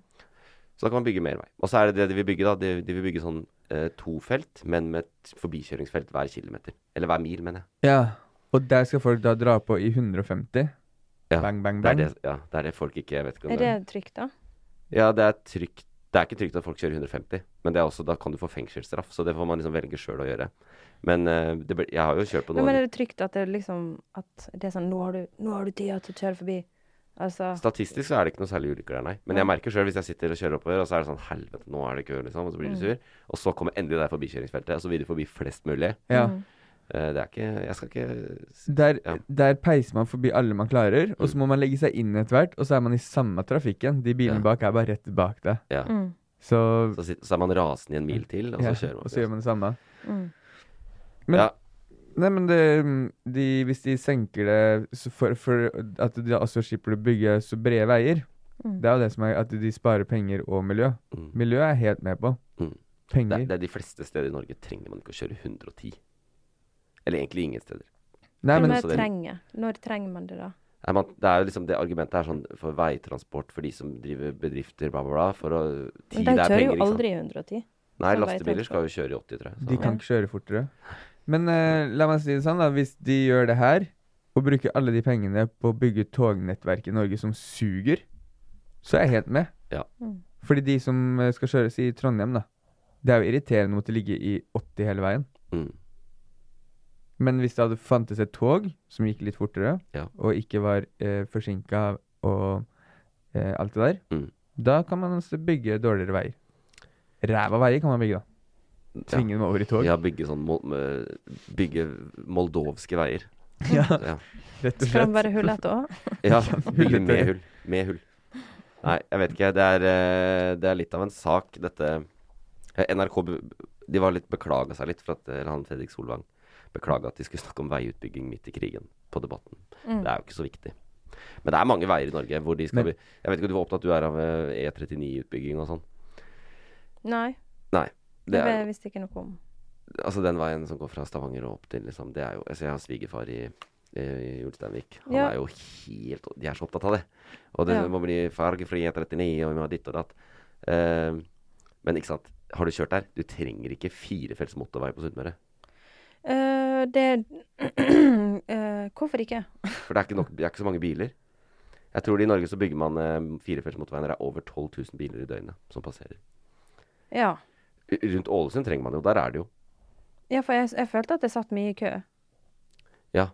Speaker 3: Så da kan man bygge mer vei. Og så er det det de vil bygge, da. De, de vil bygge sånn eh, to felt, men med et forbikjøringsfelt hver kilometer. Eller hver mil, mener jeg.
Speaker 4: Ja. Og der skal folk da dra på i 150.
Speaker 3: Ja,
Speaker 4: Bang, bang,
Speaker 3: Det er
Speaker 4: bang.
Speaker 3: det, ja, det er det folk ikke jeg vet ikke om
Speaker 5: Er det trygt, da?
Speaker 3: Ja, det er trygt. Det er ikke trygt at folk kjører 150, men det er også, da kan du få fengselsstraff. Så det får man liksom velge sjøl å gjøre. Men eh, det, blir- jeg har jo kjørt på
Speaker 5: Men,
Speaker 3: noen
Speaker 5: men er det trygt at det liksom At det er sånn Nå har du, nå har du tida til å kjøre forbi. Altså
Speaker 3: Statistisk så er det ikke noe særlig ulykker der, nei. Men jeg merker sjøl hvis jeg sitter og kjører oppover, og så er det sånn helvete, nå er det kø, liksom. Og så
Speaker 5: Mm.
Speaker 3: blir du sur. Og så kommer endelig det forbikjøringsfeltet, og så vil du forbi flest mulig.
Speaker 4: Ja.
Speaker 3: Eh, Det er ikke Jeg skal ikke s-
Speaker 4: Der,
Speaker 3: Ja. Mm.
Speaker 4: der peiser man forbi alle man klarer, og så må man legge seg inn etter hvert, og så er man i samme trafikken. De bilene
Speaker 3: Ja.
Speaker 4: bak er bare rett bak deg.
Speaker 3: Ja.
Speaker 5: Mm.
Speaker 4: Så,
Speaker 3: Så, sitter, så er man rasende i en mil til, og
Speaker 4: ja,
Speaker 3: så kjører man.
Speaker 4: og så gjør man det samme.
Speaker 3: men,
Speaker 4: men-
Speaker 3: ja,
Speaker 4: Nei, men det, de, hvis de senker det så for, for at de også slipper å bygge så brede veier, det er jo det som er at de sparer penger og miljø.
Speaker 3: Mm.
Speaker 4: Miljø er jeg helt med på.
Speaker 3: Mm. det,
Speaker 4: Penger.
Speaker 3: det er de fleste steder i Norge trenger man ikke å kjøre 110. Eller egentlig ingen steder.
Speaker 4: Nei, men
Speaker 5: når
Speaker 3: så altså, det-
Speaker 5: trenger Når trenger man det, da?
Speaker 3: Nei, man, det er jo liksom det argumentet er sånn for veitransport for de som driver bedrifter, bla, bla, bla. For å Tid
Speaker 5: Men
Speaker 3: er penger,
Speaker 5: de kjører
Speaker 3: ikke
Speaker 5: jo
Speaker 3: sant?
Speaker 5: aldri i 110.
Speaker 3: Nei,
Speaker 5: som
Speaker 3: lastebiler
Speaker 5: veitransport.
Speaker 3: skal jo kjøre i 80, tror jeg.
Speaker 4: De kan ikke kjøre fortere. Men eh, la meg si det sånn, da. Hvis de gjør det her, og bruker alle de pengene på å bygge tognettverk i Norge som suger, så er jeg helt med.
Speaker 3: Ja.
Speaker 4: Fordi de som eh, skal kjøres i Trondheim, da. Det er jo irriterende å måtte ligge i 80 hele veien.
Speaker 3: Mm.
Speaker 4: Men hvis det hadde fantes et tog som gikk litt fortere,
Speaker 3: Ja.
Speaker 4: og ikke var eh, forsinka og eh, alt det der,
Speaker 3: Mm.
Speaker 4: da kan man altså bygge dårligere veier. Ræva veier kan man bygge, da.
Speaker 3: Ja.
Speaker 4: Tvinge dem over i tog.
Speaker 3: Ja, bygge sånn mol- med- Bygge moldovske veier. Ja.
Speaker 4: Rett og
Speaker 5: Skal
Speaker 4: slett.
Speaker 5: de være hullete òg?
Speaker 3: Ja, bygge
Speaker 4: Hullete.
Speaker 3: med hull. Med hull. Nei, jeg vet ikke. Det er, eh, det er litt av en sak, dette Eh, NRK be- de var litt beklaga seg litt for at eh, han Fredrik Solvang beklaga at de skulle snakke om veiutbygging midt i krigen på Debatten. Det er jo ikke så viktig. Men det er mange veier i Norge hvor de skal bli
Speaker 4: Men-
Speaker 3: Jeg vet ikke om du var opptatt du er av eh, E39-utbygging og sånn.
Speaker 5: Nei,
Speaker 3: Nei. Det
Speaker 5: det
Speaker 3: er,
Speaker 5: visste jeg ikke noe om.
Speaker 3: altså den veien som går fra Stavanger og opp til liksom, Det er jo Altså, jeg har svigerfar i i Ulsteinvik. Han
Speaker 5: Ja.
Speaker 3: er jo helt De er så opptatt av det. Og det
Speaker 5: Ja.
Speaker 3: må bli fargefri E39, og vi må ha ditt og datt. Eh, men ikke sant. Har du kjørt der? Du trenger ikke firefelts motorvei på Sunnmøre.
Speaker 5: Eh, det eh, Hvorfor ikke?
Speaker 3: For det er, ikke nok, det er ikke så mange biler. Jeg tror i Norge så bygger man eh, firefelts motorveier når det er over 12 000 biler i døgnet som passerer.
Speaker 5: Ja.
Speaker 3: U- Rundt Ålesund trenger man det jo. Der er det jo.
Speaker 5: ja for jeg, jeg følte at jeg satt mye i kø
Speaker 3: Ja.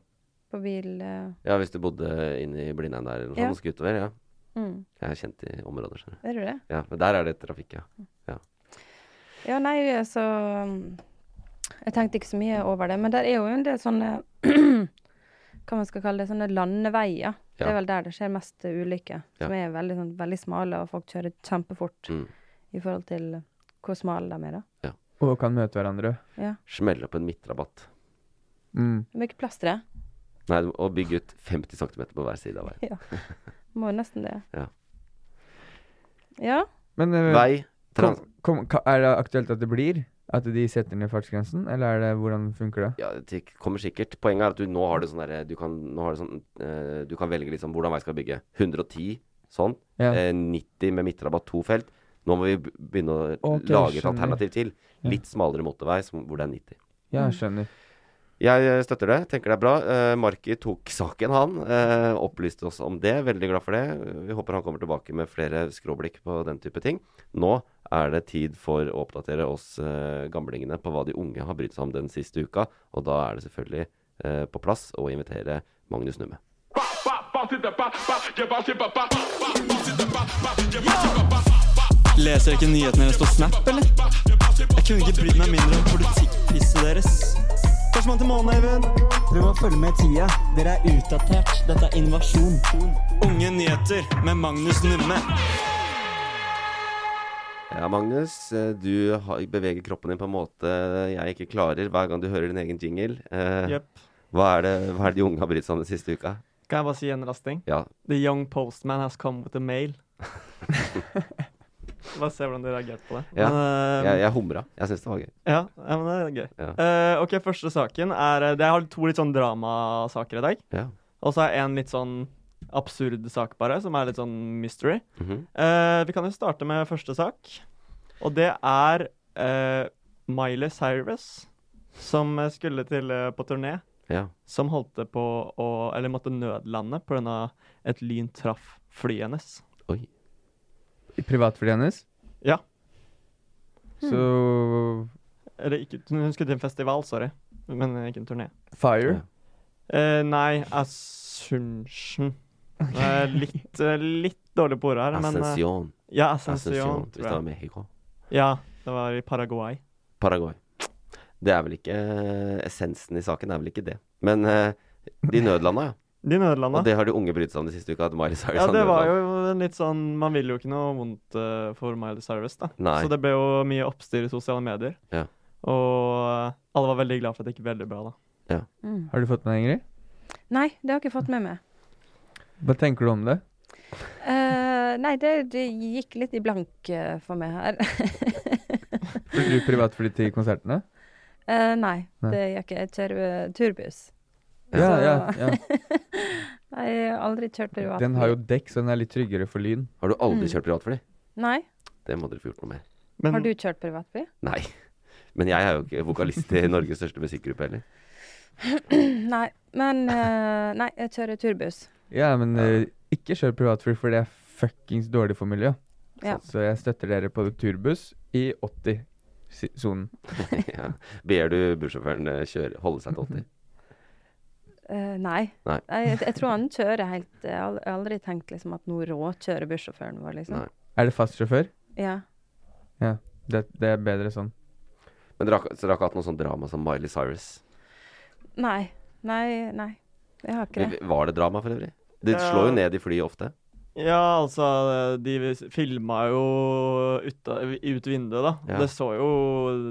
Speaker 5: på bil... eh,
Speaker 3: ja hvis du bodde inne i Blindheim der eller noe
Speaker 5: Ja.
Speaker 3: sånt og skulle utover. Ja.
Speaker 5: mm.
Speaker 3: Jeg er kjent i områder, skjønner du.
Speaker 5: Er du det?
Speaker 3: Ja, men der er det trafikk, ja.
Speaker 5: Ja, nei, så um, Jeg tenkte ikke så mye over det. Men der er jo en del sånne Hva man skal kalle det, sånne landeveier. Det
Speaker 3: Ja.
Speaker 5: er vel der det skjer mest uh, ulykker. Som er veldig, sånn, veldig smale, og folk kjører kjempefort
Speaker 3: Mm.
Speaker 5: i forhold til hvor smale de er, da.
Speaker 4: Og kan møte hverandre.
Speaker 5: Ja.
Speaker 3: Smelle opp en midtrabatt.
Speaker 4: Mm.
Speaker 5: Det blir ikke plass til det.
Speaker 3: Nei, du må- og bygge ut 50 cm på hver side av veien.
Speaker 5: Må jo nesten det.
Speaker 3: Ja.
Speaker 5: Ja.
Speaker 4: Men eh,
Speaker 3: Vei,
Speaker 4: kom,
Speaker 3: trans...
Speaker 4: kom, ka- er det aktuelt at det blir? At de setter ned fartsgrensen, eller er det hvordan funker det?
Speaker 3: Ja, det kommer sikkert. Poenget er at du nå har det sånn derre Du kan, nå har det sånn, eh, du kan velge liksom hvordan vei skal vi bygge. 110 sånn.
Speaker 4: Ja.
Speaker 3: Eh, 90 med midtrabatt, to felt. Nå må vi b- begynne å lage
Speaker 4: Ok,
Speaker 3: et
Speaker 4: skjønner.
Speaker 3: alternativ til.
Speaker 4: Ja.
Speaker 3: Litt smalere motorvei som, hvor det er 90.
Speaker 4: Ja,
Speaker 5: Mm.
Speaker 4: jeg skjønner.
Speaker 3: Jeg eh, støtter det. Tenker det er bra. Eh, Marki tok saken, han. Eh, opplyste oss om det. Veldig glad for det. Vi håper han kommer tilbake med flere skråblikk på den type ting. Nå er det tid for å oppdatere oss eh, gamlingene på hva de unge har brydd seg om den siste uka. Og da er det selvfølgelig eh, på plass å invitere Magnus Numme.
Speaker 9: Leser jeg ikke nyhetene deres på Snap, eller? Jeg kunne ikke brydd meg mindre om politikkpisset deres. Førstemann til månen, Eivind. Prøv å følge med i tida. Dere er utdatert. Dette er invasjon. Unge nyheter med Magnus Numme.
Speaker 3: Ja, Magnus. eh, Du har, beveger kroppen din på en måte jeg ikke klarer hver gang du hører din egen jingle. Eh,
Speaker 9: Jepp.
Speaker 3: hva, er det, hva er det de unge har brydd seg om den siste uka?
Speaker 9: Kan jeg bare si en rasting?
Speaker 3: Ja,
Speaker 9: The young postman has come with a mail. Bare se hvordan de reagerte på det.
Speaker 3: Ja,
Speaker 9: Men, eh,
Speaker 3: jeg, jeg humra. Jeg syns det var gøy.
Speaker 9: Ja, ja, men det er gøy.
Speaker 3: Ja.
Speaker 9: Eh, ok, første saken er eh, det- Jeg har to litt sånn dramasaker i dag.
Speaker 3: Ja.
Speaker 9: Og så er en litt sånn absurd sak, bare, som er litt sånn mystery.
Speaker 3: Mhm.
Speaker 9: Eh, vi kan jo starte med første sak. Og det er eh, Miley Cyrus, som eh, skulle til eh, på turné.
Speaker 3: ja.
Speaker 9: Som holdt på å Eller måtte nødlande pga. et lyn traff flyet hennes.
Speaker 3: Oi.
Speaker 4: I privatflyet hennes,
Speaker 9: Ja.
Speaker 5: Mm.
Speaker 4: så
Speaker 9: Eller ikke Hun skulle til en festival, sorry. Men eh, ikke en turné.
Speaker 4: Fire.
Speaker 9: Eh, nei, Assumption. Det er litt, eh, litt dårlig på ordet her, men eh,
Speaker 3: Ascension.
Speaker 9: Ja, Ascension,
Speaker 3: Ascension. Hvis
Speaker 9: tror
Speaker 3: det var
Speaker 9: jeg.
Speaker 3: Mexico.
Speaker 9: Ja, det var i Paraguay.
Speaker 3: Paraguay. Det er vel ikke eh, Essensen i saken er vel ikke det. Men eh, de nødlanda, ja.
Speaker 9: De nødlanda.
Speaker 3: Og det sånn har de unge brydd seg om den siste uka. At Mari Cyrus
Speaker 9: Ja,
Speaker 3: har
Speaker 9: det var
Speaker 3: nødlanda.
Speaker 9: jo en litt sånn Man vil jo ikke noe vondt eh, for Miley Cyrus, da.
Speaker 3: Nei.
Speaker 9: Så det ble jo mye oppstyr i sosiale medier.
Speaker 3: Ja.
Speaker 9: Og eh, alle var veldig glad for at det gikk veldig bra, da.
Speaker 4: Har du fått med deg, Ingrid?
Speaker 5: Nei, det har jeg ikke fått med meg.
Speaker 4: Hva tenker du om det?
Speaker 5: Eh, nei, det, det gikk litt i blank eh, for meg her.
Speaker 4: Bruker du privatfly til konsertene?
Speaker 5: Eh, nei,
Speaker 4: Nei.
Speaker 5: det gjør ikke jeg. Jeg kjører eh, turbuss.
Speaker 4: Ja, ja,
Speaker 5: Så-
Speaker 4: ja.
Speaker 5: Nei, Jeg har aldri kjørt privatbil.
Speaker 4: Den har jo dekk, så den er litt tryggere for lyn.
Speaker 3: Har du aldri
Speaker 5: Mm.
Speaker 3: kjørt privatfly?
Speaker 5: Nei.
Speaker 3: Det må dere få gjort noe med.
Speaker 9: Men
Speaker 5: Har du kjørt privatbil?
Speaker 3: Nei. Men jeg er jo ikke vokalist i Norges største musikkgruppe heller.
Speaker 5: Nei. Men eh, Nei, jeg kjører turbuss.
Speaker 4: Ja, men eh, ikke kjør privatfly, for det er fuckings dårlig for miljøet.
Speaker 5: Ja.
Speaker 4: Så jeg støtter dere på turbuss i 80-sonen.
Speaker 3: ja. Ber du bussjåføren eh, kjøre, holde seg til 80?
Speaker 5: Eh, nei.
Speaker 3: Nei.
Speaker 5: Jeg, jeg tror han kjører helt eh, Jeg har aldri tenkt liksom at noe rå kjører bussjåføren vår, liksom.
Speaker 3: Nei.
Speaker 4: Er det fast sjåfør?
Speaker 5: Ja.
Speaker 4: Det, det er bedre sånn.
Speaker 3: Men dere har, ikke- så dere har ikke hatt noe sånn drama som Miley Cyrus?
Speaker 5: Nei. Nei, nei. Jeg har ikke det.
Speaker 3: Men Var det drama for øvrig? Det
Speaker 9: Ja.
Speaker 3: slår jo ned i flyet ofte.
Speaker 9: Ja, altså De filma jo ut, av- ut vinduet, da.
Speaker 3: Ja.
Speaker 9: Det så jo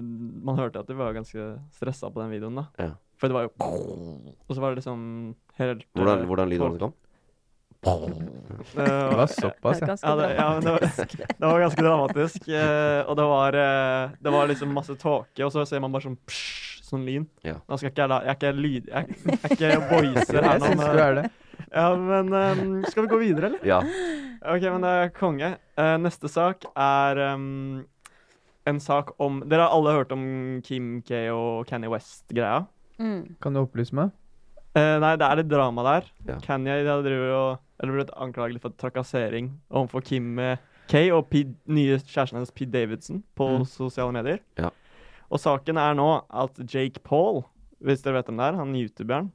Speaker 9: Man hørte at de var ganske stressa på den videoen, da.
Speaker 3: Ja.
Speaker 9: For det var jo Og så var det liksom helt
Speaker 3: Hvordan,
Speaker 9: eh,
Speaker 3: hvordan lyden hans kom?
Speaker 9: eh,
Speaker 4: Det var såpass, ja.
Speaker 5: ganske
Speaker 9: ja, det, ja, men det, var, det var ganske dramatisk. eh, og det var, eh, det var liksom masse tåke, og så ser man bare sånn psh, sånn lyn.
Speaker 3: Ja.
Speaker 9: Nå skal ikke jeg la Jeg er ikke lyd... Jeg, er- jeg er ikke voicer her
Speaker 4: Jeg
Speaker 9: nå.
Speaker 4: syns du
Speaker 9: Men,
Speaker 4: er det.
Speaker 9: ja, men eh, skal vi gå videre, eller?
Speaker 3: Ja.
Speaker 9: Ok, men det er konge. Eh, neste sak er ehm, en sak om Dere har alle hørt om Kim K og Kanye West-greia?
Speaker 5: Mm.
Speaker 4: Kan du opplyse meg?
Speaker 9: Eh, nei, det er litt drama der.
Speaker 3: Ja.
Speaker 9: Kanye da driver jo Eller ble anklaget for trakassering overfor Kim eh, K og P, nye kjæresten hennes Pete Davidson på sosiale medier.
Speaker 3: Mm. Ja.
Speaker 9: Og saken er nå at Jake Paul, hvis dere vet hvem det er, han youtuberen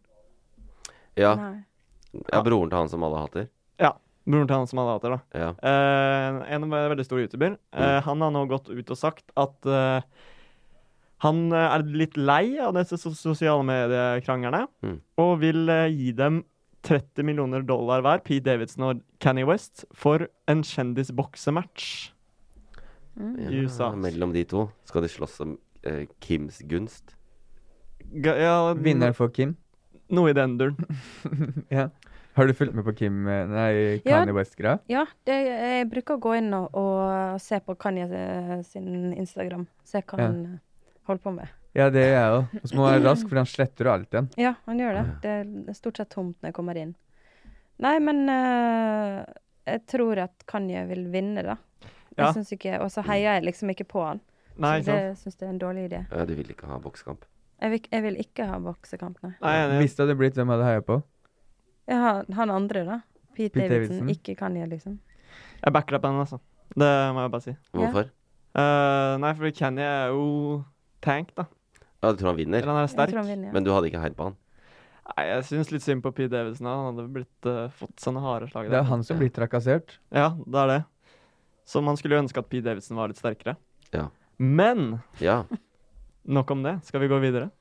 Speaker 3: ja.
Speaker 5: Nei.
Speaker 3: Ja, broren til han som alle hater.
Speaker 9: Broren til han som hadde hatt det, da.
Speaker 3: Ja.
Speaker 9: Eh, en ve- veldig stor youtuber. Eh, han har nå gått ut og sagt at eh, han eh, er litt lei av disse sos- sosiale mediekrangerne,
Speaker 3: Mm.
Speaker 9: og vil eh, gi dem 30 millioner dollar hver, Pete Davidson og Kanye West, for en kjendisboksematch. I
Speaker 3: ja.
Speaker 9: USA.
Speaker 3: Mellom de to skal de slåss om eh, Kims gunst.
Speaker 9: Ga- Ja, n-
Speaker 4: Vinneren for Kim?
Speaker 9: Noe i den duren.
Speaker 4: Ja. Har du fulgt med på Kim eh, Nei,
Speaker 5: Ja.
Speaker 4: Kanye West-greia?
Speaker 5: Ja, det, jeg bruker å gå inn og, og se på Kanye eh, sin Instagram. Se hva
Speaker 4: Ja.
Speaker 5: han eh, holder på med.
Speaker 4: Ja, det er jeg òg. Og så må man være rask, for han sletter jo alt igjen.
Speaker 5: Ja, han gjør det. Det er stort sett tomt når jeg kommer inn. Nei, men eh, jeg tror at Kanye vil vinne, da.
Speaker 9: Ja.
Speaker 5: Jeg synes ikke, Og så heier jeg liksom ikke på han.
Speaker 9: Nei,
Speaker 5: så
Speaker 9: ikke
Speaker 5: det
Speaker 9: sant?
Speaker 5: syns jeg er en dårlig idé.
Speaker 3: Ja, de vil ikke ha boksekamp.
Speaker 5: Jeg vil, jeg vil ikke ha boksekamp, nei.
Speaker 9: Nei, jeg er enig.
Speaker 4: Hvis det hadde blitt, hvem hadde heia på?
Speaker 5: Jeg har, han andre, da. Pete,
Speaker 4: Pete
Speaker 5: Davidson.
Speaker 4: Davidson.
Speaker 5: Ikke Kanye, liksom.
Speaker 9: Jeg backer deg på den, altså. Det må jeg bare si.
Speaker 3: Hvorfor?
Speaker 9: Eh, nei, for Kanye er jo tank, da.
Speaker 3: Ja, du tror han vinner,
Speaker 9: Eller han er
Speaker 5: Jeg
Speaker 9: sterk.
Speaker 5: tror han vinner, ja.
Speaker 3: men du hadde ikke heid på han.
Speaker 9: Nei, jeg syns litt synd på P. Davidson. da. Han hadde blitt eh, fått sånne harde slag.
Speaker 4: Det
Speaker 9: der.
Speaker 4: er han som blir trakassert.
Speaker 9: Ja, det er det. Så man skulle jo ønske at P. Davidson var litt sterkere.
Speaker 3: Ja.
Speaker 9: Men
Speaker 3: Ja,
Speaker 9: nok om det. Skal vi gå videre?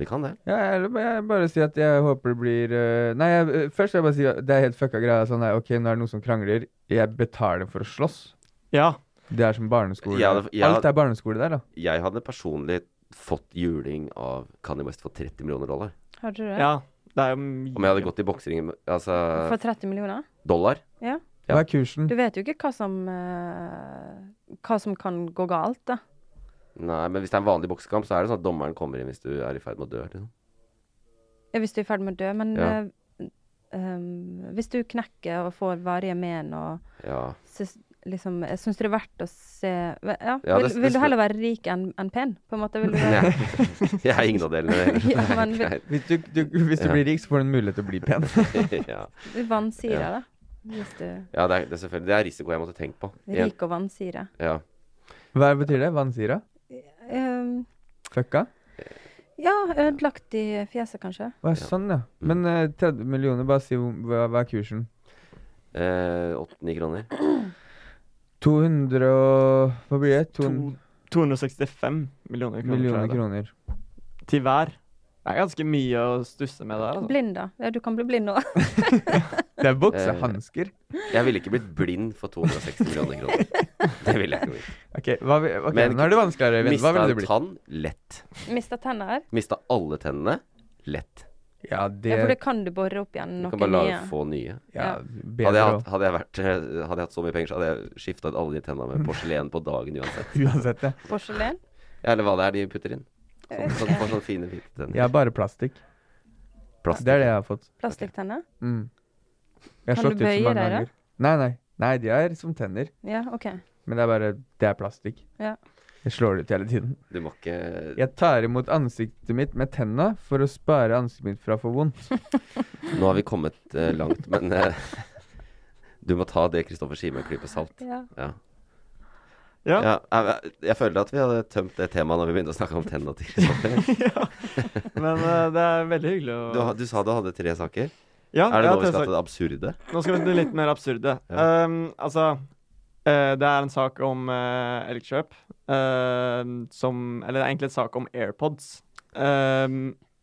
Speaker 3: vi kan det.
Speaker 4: Ja, jeg vil ba- jeg vil bare si at jeg håper det blir eh, Nei, jeg, eh, først vil jeg bare si at det er helt fucka greia. Sånn der, OK, nå er det noen som krangler. Jeg betaler for å slåss.
Speaker 9: Ja.
Speaker 4: Det er som barneskole.
Speaker 3: Ja, det- ja.
Speaker 4: Alt er barneskole der, da.
Speaker 3: Jeg hadde personlig fått juling av Kanye West for 30 millioner dollar.
Speaker 5: Har du det?
Speaker 9: ja det er jo mye.
Speaker 3: Om jeg hadde gått i boksering med- Altså
Speaker 5: For 30 millioner?
Speaker 3: dollar? Ja.
Speaker 4: Hva er kursen?
Speaker 5: Du vet jo ikke hva som eh, Hva som kan gå galt, da.
Speaker 3: Nei, men hvis det er en vanlig boksekamp, så er det sånn at dommeren kommer inn hvis du er i ferd med å dø. Liksom.
Speaker 5: Ja, Hvis du er i ferd med å dø. Men
Speaker 3: Ja.
Speaker 5: eh, um, hvis du knekker og får varige men og
Speaker 3: Ja.
Speaker 5: sys- liksom, Jeg syns det er verdt å se Ja,
Speaker 3: Ja,
Speaker 5: vil,
Speaker 3: det- det-
Speaker 5: vil du heller være rik enn enn pen, på en måte? Vil du være
Speaker 3: Nei. Jeg er ingen av delene.
Speaker 5: Ja, men vil-
Speaker 3: Greit.
Speaker 4: Hvis du, du, hvis du
Speaker 3: Ja.
Speaker 4: blir rik, så får du en mulighet til å bli pen.
Speaker 3: ja.
Speaker 5: vansira,
Speaker 3: Ja.
Speaker 5: da? Hvis du
Speaker 3: Ja, det er, det er selvfølgelig Det er risiko jeg måtte tenke på. Igjen.
Speaker 5: Rik og vansira.
Speaker 3: Ja.
Speaker 4: Hva betyr det? Vansira?
Speaker 5: Um,
Speaker 4: Fucka?
Speaker 5: ja, ødelagt i fjeset, kanskje.
Speaker 4: Hva er sånn,
Speaker 3: Mm.
Speaker 4: ja. Men eh, 30 millioner, bare si hvor- hva, hva er kursen?
Speaker 3: Eh, 89 kroner.
Speaker 4: 200 og Hva blir det?
Speaker 9: To,
Speaker 4: 200
Speaker 9: 265 millioner kroner, tror
Speaker 4: millioner
Speaker 9: jeg det er.
Speaker 4: kroner.
Speaker 9: til hver. Det er ganske mye å stusse med der. Altså.
Speaker 5: Blind, da. Ja, du kan bli blind nå.
Speaker 4: Det er boksehansker.
Speaker 3: Jeg ville ikke blitt blind for 260 millioner kroner. Det ville jeg ikke blitt.
Speaker 4: Ok, hva, vi- ok,
Speaker 3: Men-
Speaker 4: nå er det vanskeligere. Øyvind.
Speaker 3: Mista
Speaker 4: Hva ville du
Speaker 3: en
Speaker 4: blitt?
Speaker 3: tann lett.
Speaker 5: Mista tenner.
Speaker 3: Mista alle tennene lett.
Speaker 4: Ja,
Speaker 5: Ja, for det
Speaker 4: det
Speaker 5: kan du bore opp igjen
Speaker 3: Du kan
Speaker 5: noe
Speaker 3: bare lage,
Speaker 5: nye.
Speaker 3: få nye.
Speaker 4: ja,
Speaker 5: ja.
Speaker 4: Bedre
Speaker 3: Hadde jeg,
Speaker 4: også.
Speaker 3: hatt, hadde, jeg vært, eh, hadde jeg hatt så mye penger, så hadde jeg skifta ut alle de tennene med porselen på dagen uansett.
Speaker 4: Uansett, ja.
Speaker 5: Porselen.
Speaker 3: sånn, Ja, Eller hva det er de putter inn. Sånn, sånn, får sånne fine, hvite tenner.
Speaker 4: Jeg er bare plastikk.
Speaker 3: Plast.
Speaker 4: Det er det jeg har fått.
Speaker 5: Plastikktenner?
Speaker 4: Mm. Jeg har
Speaker 5: Kan du
Speaker 4: slått ut
Speaker 5: bøye
Speaker 4: så mange
Speaker 5: deg, da?
Speaker 4: ganger. Nei, nei. Nei, de er som tenner.
Speaker 5: Ja, OK.
Speaker 4: Men det er bare Det er plastikk.
Speaker 5: Ja.
Speaker 4: Jeg slår det ut hele tiden.
Speaker 3: Du må ikke
Speaker 4: Jeg tar imot ansiktet mitt med tenna for å spare ansiktet mitt fra å få vondt.
Speaker 3: Nå har vi kommet eh, langt, men eh, du må ta det Kristoffer sier med en klype salt.
Speaker 5: Ja.
Speaker 3: Ja.
Speaker 9: Ja.
Speaker 3: Ja, jeg, jeg føler at vi hadde tømt det temaet når vi begynte å snakke om tenna til Kristoffer.
Speaker 9: Men eh, det er veldig hyggelig å
Speaker 3: Du, ha- du sa du hadde tre saker.
Speaker 9: Ja,
Speaker 3: Er det
Speaker 9: ja,
Speaker 3: nå vi
Speaker 9: tusen
Speaker 3: skal
Speaker 9: takk.
Speaker 3: til det absurde?
Speaker 9: Nå skal vi til det litt mer absurde.
Speaker 3: Ja.
Speaker 9: Ehm, altså, eh, det er en sak om uh, elgkjøp ehm, som Eller det er egentlig en sak om AirPods. Ehm,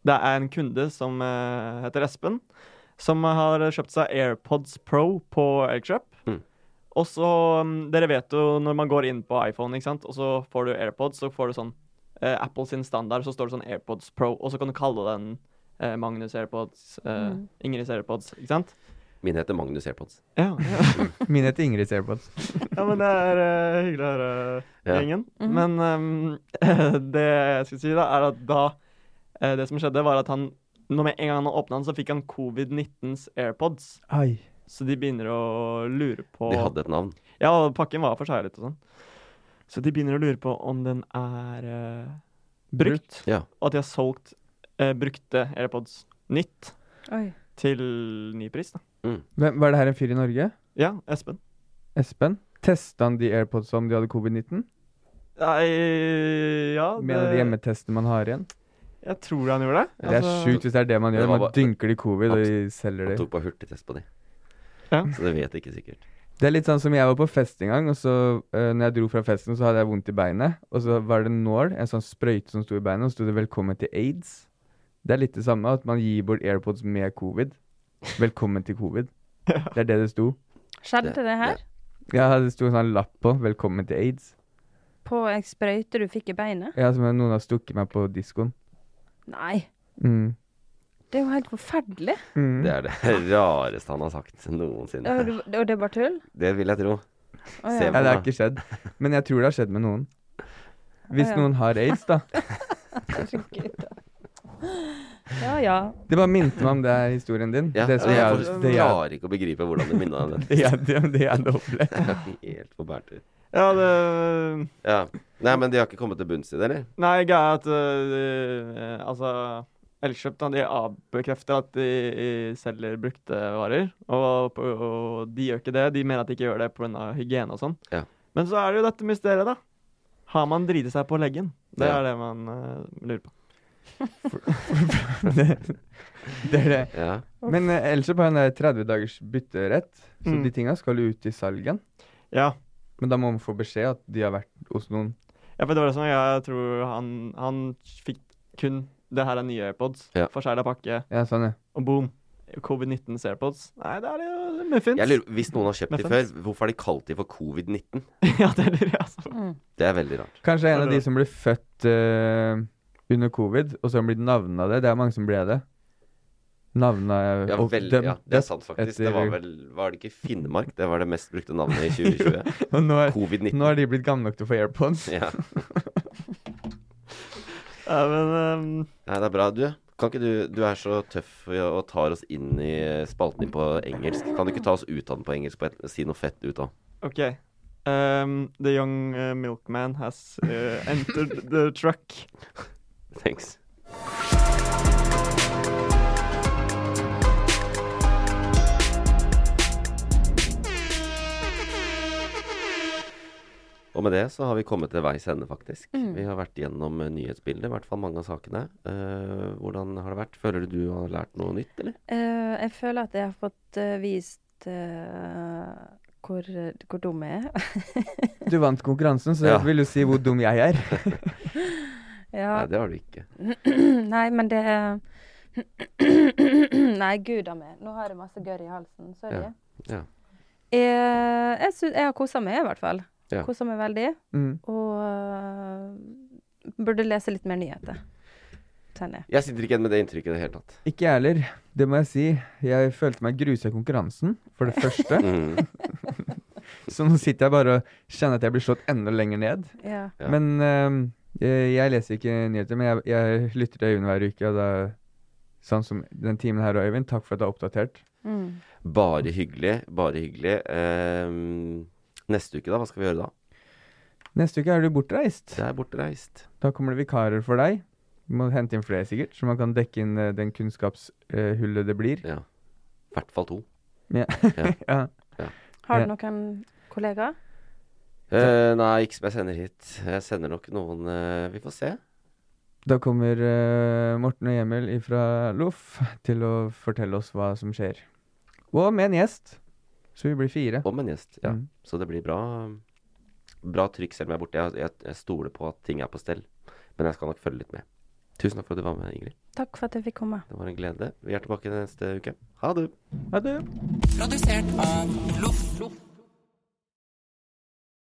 Speaker 9: det er en kunde som eh, heter Espen, som har kjøpt seg AirPods Pro på Elgkjøp.
Speaker 3: Mm.
Speaker 9: Og så mm, Dere vet jo når man går inn på iPhone, ikke sant, og så får du AirPods, så får du sånn eh, Apple sin standard, så står det sånn AirPods Pro, og så kan du kalle den eh, Magnus AirPods, eh, Ingrids AirPods, ikke sant?
Speaker 3: Min heter Magnus Airpods.
Speaker 9: Ja, ja.
Speaker 4: Mine heter Ingrid Airpods.
Speaker 9: Ja, men det er eh, hyggelig å høre,
Speaker 3: Ja.
Speaker 9: gjengen. Men ehm, det jeg skulle si, da, er at da eh, Det som skjedde, var at han når med en gang han åpna den, så fikk han covid-19s AirPods.
Speaker 4: Ai.
Speaker 9: Så de begynner å lure på
Speaker 3: De hadde et navn.
Speaker 9: Ja, og pakken var forseglet og sånn. Så de begynner å lure på om den er eh, brukt,
Speaker 3: Ja.
Speaker 9: og at de har solgt eh, brukte AirPods nytt
Speaker 5: Oi.
Speaker 9: til ny pris. da.
Speaker 4: Hvem, var det her en fyr i Norge?
Speaker 9: Ja, Espen.
Speaker 4: Espen? Testa han de AirPods om de hadde covid-19?
Speaker 9: Nei, ja
Speaker 4: Med en av de hjemmetestene man har igjen?
Speaker 9: Jeg tror han gjorde det.
Speaker 4: Det er
Speaker 9: Altså-
Speaker 4: sjukt hvis det er det man
Speaker 3: Det
Speaker 4: gjør.
Speaker 3: var
Speaker 4: Man
Speaker 3: bare-
Speaker 4: dynker de covid og de selger
Speaker 3: Han
Speaker 4: de.
Speaker 3: tok bare hurtigtest på de.
Speaker 9: Ja.
Speaker 3: Så det vet jeg ikke sikkert.
Speaker 4: Det er litt sånn som jeg var på fest en gang, og så eh, når jeg dro fra festen, så hadde jeg vondt i beinet. Og så var det en nål, en sånn sprøyte som sto i beinet, og så sto det 'Velkommen til aids'. Det er litt det samme, at man gir bort AirPods med covid. Velkommen til covid. Det er det det sto.
Speaker 5: Skjedde
Speaker 3: Det-
Speaker 5: det, her?
Speaker 4: Ja, det sto en sånn lapp på 'Velkommen til aids'.
Speaker 5: På ei sprøyte du fikk i beinet?
Speaker 4: Ja, som noen har stukket meg på diskoen.
Speaker 5: Nei.
Speaker 4: Mm.
Speaker 5: Det er jo helt forferdelig.
Speaker 4: Mm.
Speaker 3: Det er det rareste han har sagt
Speaker 5: Ja, Og
Speaker 3: noensinne.
Speaker 5: det og det er bare tull?
Speaker 3: Det vil jeg tro.
Speaker 5: Å,
Speaker 3: Se
Speaker 4: Ja,
Speaker 5: ja.
Speaker 4: det har ikke skjedd. Men jeg tror det har skjedd med noen. Hvis
Speaker 5: Ja, ja.
Speaker 4: noen har aids, da.
Speaker 5: Herregud, da. ja ja.
Speaker 4: Det bare minte meg om det er historien din.
Speaker 3: Ja,
Speaker 4: Det som
Speaker 3: jeg
Speaker 4: jeg,
Speaker 3: for-
Speaker 4: det jeg,
Speaker 3: klarer ikke å begripe hvordan det minna om det.
Speaker 4: det jeg, det, det jeg hadde opplevd.
Speaker 3: Helt på bærtur.
Speaker 9: Ja, det
Speaker 3: Ja. Nei, men de har ikke kommet til bunns i det, eller?
Speaker 9: Nei, greia er at øh, øh, Altså, Elkjøp da, de avbekrefter at de øh, selger brukte varer. Og, på- og de gjør ikke det. De mener at de ikke gjør det pga. hygiene og sånn.
Speaker 3: Ja.
Speaker 9: Men så er det jo dette mysteriet, da. Har man driti seg på leggen? Det
Speaker 3: Ja.
Speaker 9: er det man øh, lurer på.
Speaker 4: det, det er det.
Speaker 3: Ja.
Speaker 4: Men eh, ellers så på den der 30 dagers bytterett, så
Speaker 9: Mm.
Speaker 4: de tinga skal jo ut i salgen.
Speaker 9: Ja.
Speaker 4: Men da må man få beskjed at de har vært hos noen.
Speaker 9: ja, for det var det som jeg tror han, han fikk kun Det her er nye AirPods.
Speaker 3: Ja.
Speaker 9: Forsegla pakke,
Speaker 4: Ja, sånn, ja.
Speaker 9: og boom. Covid-19s AirPods. Nei, det er jo muffins.
Speaker 3: Jeg lurer, hvis noen har kjøpt de
Speaker 9: Muffins.
Speaker 3: før, hvorfor har de kalt de for covid-19?
Speaker 9: ja, det lurer jeg altså. på.
Speaker 3: Det er veldig rart.
Speaker 4: Kanskje en av de som ble født eh, under covid, og så har han blitt navnet av det. Det er mange som ble det. Navna
Speaker 3: Ja,
Speaker 4: og
Speaker 3: vel,
Speaker 4: dem-
Speaker 3: ja, det er sant, faktisk. Det
Speaker 4: etter-
Speaker 3: var vel Var det ikke Finnmark? Det var det mest brukte navnet i 2020.
Speaker 4: Og nå er,
Speaker 3: Covid-19.
Speaker 4: nå er de blitt gamle nok til å få airpods.
Speaker 3: Ja.
Speaker 9: Ja, men ehm, øhm,
Speaker 3: Nei, det er bra. Du, kan ikke du, du er så tøff og tar oss inn i spalten din på engelsk. Kan du ikke ta oss ut av den på engelsk? På et, si noe fett ut av
Speaker 9: Okay. Um, the young uh, milkman has uh, entered the truck.
Speaker 3: Thanks. Og med det så har vi kommet til veis ende, faktisk. Vi har vært gjennom eh, nyhetsbildet, i hvert fall mange av sakene. Eh, hvordan har det vært? Føler du du har lært noe nytt, eller?
Speaker 5: Eh, jeg føler at jeg har fått eh, vist eh, hvor, hvor dum jeg er.
Speaker 4: Du vant konkurransen, så
Speaker 3: Ja.
Speaker 4: jeg vil jo si hvor dum jeg er.
Speaker 5: ja.
Speaker 3: Nei, det har du ikke.
Speaker 5: Nei, men det Nei, gud a meg. Nå har jeg masse gørr i halsen. Sorry.
Speaker 3: Ja, ja.
Speaker 5: Jeg, jeg, sy- jeg har kosa meg, i hvert fall.
Speaker 3: Ja.
Speaker 5: Kosa meg veldig.
Speaker 4: Mm.
Speaker 5: Og øh, burde lese litt mer nyheter, kjenner jeg.
Speaker 3: Jeg sitter ikke igjen med det inntrykket i det hele tatt.
Speaker 4: Ikke jeg heller. Det må jeg si. Jeg følte meg grusa i konkurransen, for det første.
Speaker 3: Mm.
Speaker 4: Så nå sitter jeg bare og kjenner at jeg blir slått enda lenger ned.
Speaker 5: Ja.
Speaker 3: Ja.
Speaker 4: Men ehm, eh, øhm, jeg, jeg leser ikke nyheter, men jeg, jeg lytter til Øyvind hver uke, og da Sånn som den timen her, og Øyvind. Takk for at du er oppdatert.
Speaker 5: Mm.
Speaker 3: Bare hyggelig, bare hyggelig. Ehm, neste uke, da? Hva skal vi gjøre da?
Speaker 4: Neste uke er du bortreist.
Speaker 3: Det er bortreist.
Speaker 4: Da kommer det vikarer for deg. Du må hente inn flere, sikkert, så man kan dekke inn eh, den kunnskapshullet det blir.
Speaker 3: Ja. I hvert fall to.
Speaker 4: Ja.
Speaker 5: Har du
Speaker 4: Ja.
Speaker 5: noen kollegaer?
Speaker 3: Eh, nei, ikke som jeg sender hit. Jeg sender nok noen eh, Vi får se.
Speaker 4: Da kommer eh, Morten og Emil fra Loff til å fortelle oss hva som skjer. Og med en gjest. Så vi blir fire.
Speaker 3: Om en gjest. Ja.
Speaker 4: Mm.
Speaker 3: Så det blir bra Bra trykk selv om jeg er borte. Jeg, jeg, jeg stoler på at ting er på stell. Men jeg skal nok følge litt med. Tusen takk for at du var med, Ingrid.
Speaker 5: Takk for at jeg fikk komme.
Speaker 3: Det var en glede. Vi er tilbake neste uke. Ha det.
Speaker 4: Ha det.
Speaker 10: Produsert av Loff.